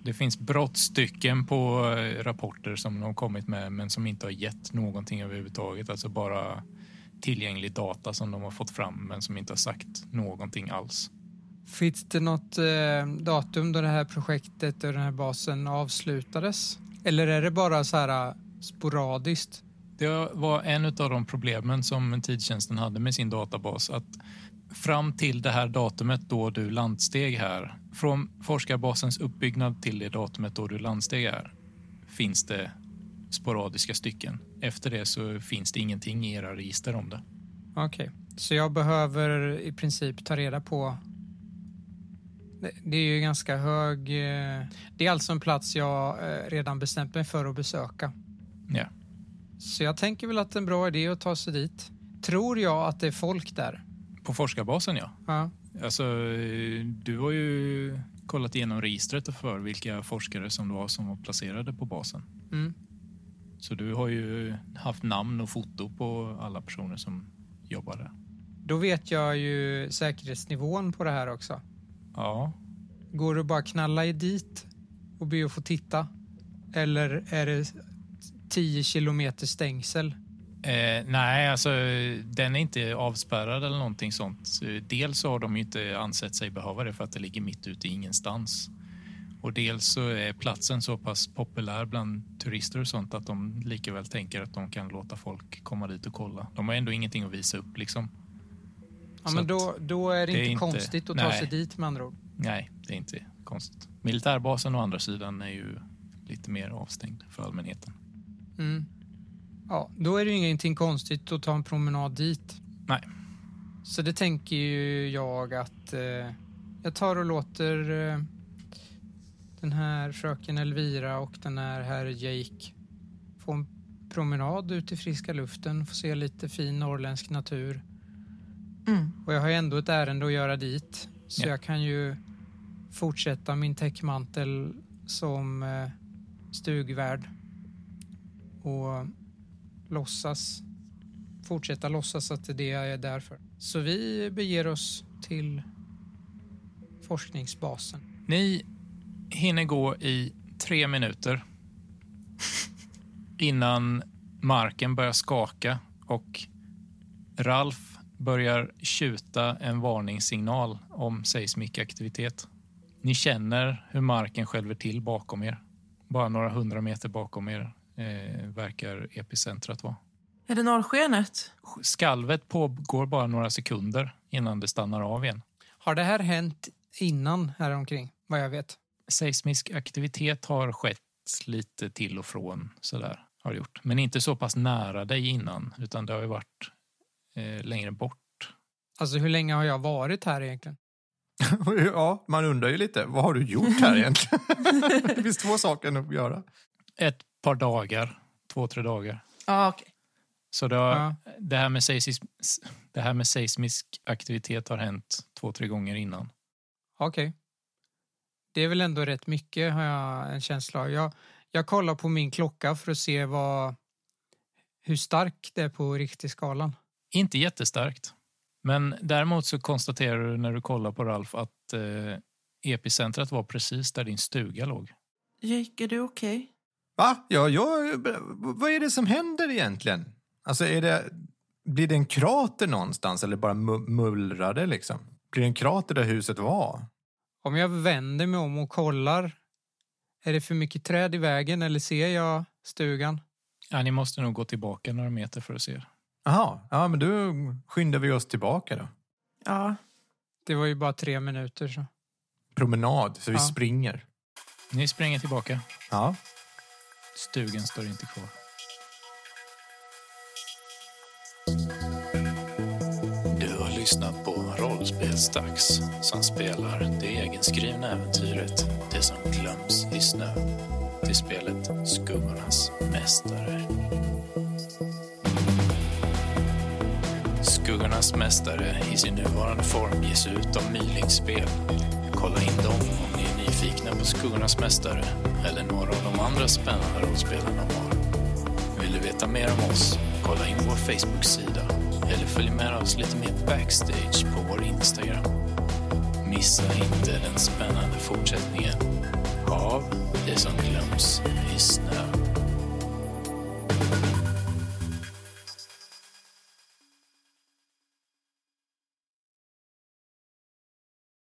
Speaker 1: Det finns brottstycken på eh, rapporter som de har kommit med men som inte har gett någonting överhuvudtaget, alltså bara tillgänglig data som de har fått fram men som inte har sagt någonting alls.
Speaker 2: Finns det något eh, datum då det här projektet och den här basen avslutades? Eller är det bara så här eh, sporadiskt?
Speaker 1: Det var en av de problemen som tidtjänsten hade med sin databas att fram till det här datumet då du landsteg här, från forskarbasens uppbyggnad till det datumet då du landsteg här, finns det sporadiska stycken. Efter det så finns det ingenting i era register om det.
Speaker 2: Okej, så jag behöver i princip ta reda på... Det- Det är ju ganska hög... eh, Det är alltså en plats jag eh, redan bestämt mig för att besöka.
Speaker 1: Ja.
Speaker 2: Så jag tänker väl att det är en bra idé att ta sig dit. Tror jag att det är folk där?
Speaker 1: På forskarbasen ja.
Speaker 2: Ja.
Speaker 1: Alltså, eh, du har ju kollat igenom registret för vilka forskare som det var som var placerade på basen.
Speaker 2: Mm.
Speaker 1: Så du har ju haft namn och foto på alla personer som jobbar där.
Speaker 2: Då vet jag ju säkerhetsnivån på det här också.
Speaker 1: Ja,
Speaker 2: Går det bara att knalla i dit och be att få titta? Eller är det 10 kilometer stängsel?
Speaker 1: Eh, nej, alltså den är inte avspärrad eller någonting sånt. Dels så har de ju inte ansett sig behöva det för att det ligger mitt ute i ingenstans. Och dels så är platsen så pass populär bland turister och sånt att de lika väl tänker att de kan låta folk komma dit och kolla. De har ändå ingenting att visa upp liksom.
Speaker 2: Ja,
Speaker 1: Så
Speaker 2: men
Speaker 1: att-
Speaker 2: då, då är det,
Speaker 1: det är
Speaker 2: inte
Speaker 1: inte-
Speaker 2: konstigt att ta
Speaker 1: nej.
Speaker 2: sig dit med andra ord.
Speaker 1: Nej, det är inte konstigt. Militärbasen å andra sidan är ju lite mer avstängd för allmänheten.
Speaker 2: Mm. Ja, då är det ju ingenting konstigt att ta en promenad dit.
Speaker 1: Nej.
Speaker 2: Så det tänker ju jag att eh, jag tar och låter eh, den här fröken Elvira och den här herr Jake få en promenad ut i friska luften, få se lite fin norrländsk natur.
Speaker 3: Mm.
Speaker 2: Och jag har ju ändå ett ärende att göra dit. Så
Speaker 1: Ja.
Speaker 2: jag kan ju fortsätta min täckmantel som eh, stugvärd. Och låtsas, fortsätta låtsas att det är det jag är där för. Så vi beger oss till forskningsbasen.
Speaker 1: Ni hinner gå i tre minuter innan marken börjar skaka och Ralf börjar tjuta en varningssignal om seismik aktivitet. Ni känner hur marken skälver till bakom er. Bara några hundra meter bakom er eh, verkar epicentrat vara.
Speaker 3: Är det norrskenet?
Speaker 1: Skalvet pågår bara några sekunder innan det stannar av igen.
Speaker 2: Har det här hänt innan häromkring, vad jag vet?
Speaker 1: seismisk aktivitet har skett lite till och från. Sådär, har det gjort. Men inte så pass nära dig innan, utan det har ju varit eh, längre bort.
Speaker 2: Alltså hur länge har jag varit här egentligen?
Speaker 5: ja, man undrar ju lite. Vad har du gjort här egentligen? det finns två saker nog att göra.
Speaker 1: Ett par dagar, två, tre dagar.
Speaker 3: Ja, okej.
Speaker 1: Så det, har,
Speaker 2: Ja.
Speaker 1: det, här med seismisk, det här med seismisk aktivitet har hänt två, tre gånger innan.
Speaker 2: Okej. Det är väl ändå rätt mycket har jag en känsla av. Jag, jag kollar på min klocka för att se vad, hur stark det är på riktig skalan.
Speaker 1: Inte jättestarkt. Men däremot så konstaterar du när du kollar på Ralf att eh, epicentret var precis där din stuga låg.
Speaker 3: Jake, är du okej?
Speaker 5: Va? Ja, jag, vad är det som händer egentligen? Alltså, är det, blir det en krater någonstans eller bara mu- mullrar det liksom? Blir det en krater där huset var?
Speaker 2: Om jag vänder mig om och kollar, är det för mycket träd i vägen eller ser jag stugan?
Speaker 1: Ja, ni måste nog gå tillbaka några meter för att se.
Speaker 5: Jaha, ja, men då skyndar vi oss tillbaka då.
Speaker 3: Ja.
Speaker 2: Det var ju bara tre minuter. Så.
Speaker 5: Promenad, så vi
Speaker 2: Ja.
Speaker 5: springer.
Speaker 1: Ni springer tillbaka.
Speaker 5: Ja.
Speaker 1: Stugan står inte kvar. Du har lyssnat på Rollspelsdags som spelar det egenskrivna äventyret Det som glöms i snö till spelet Skuggornas mästare. Skuggornas mästare i sin nuvarande form ges ut av Mylingspel. Kolla in dem om ni är nyfikna på Skuggornas mästare eller några av de andra spännande rollspelen de har. Vill du veta mer om oss? Kolla in vår Facebook-sida eller följ med oss lite mer backstage på vår Instagram. Missa inte den spännande fortsättningen av Det som glöms i snö.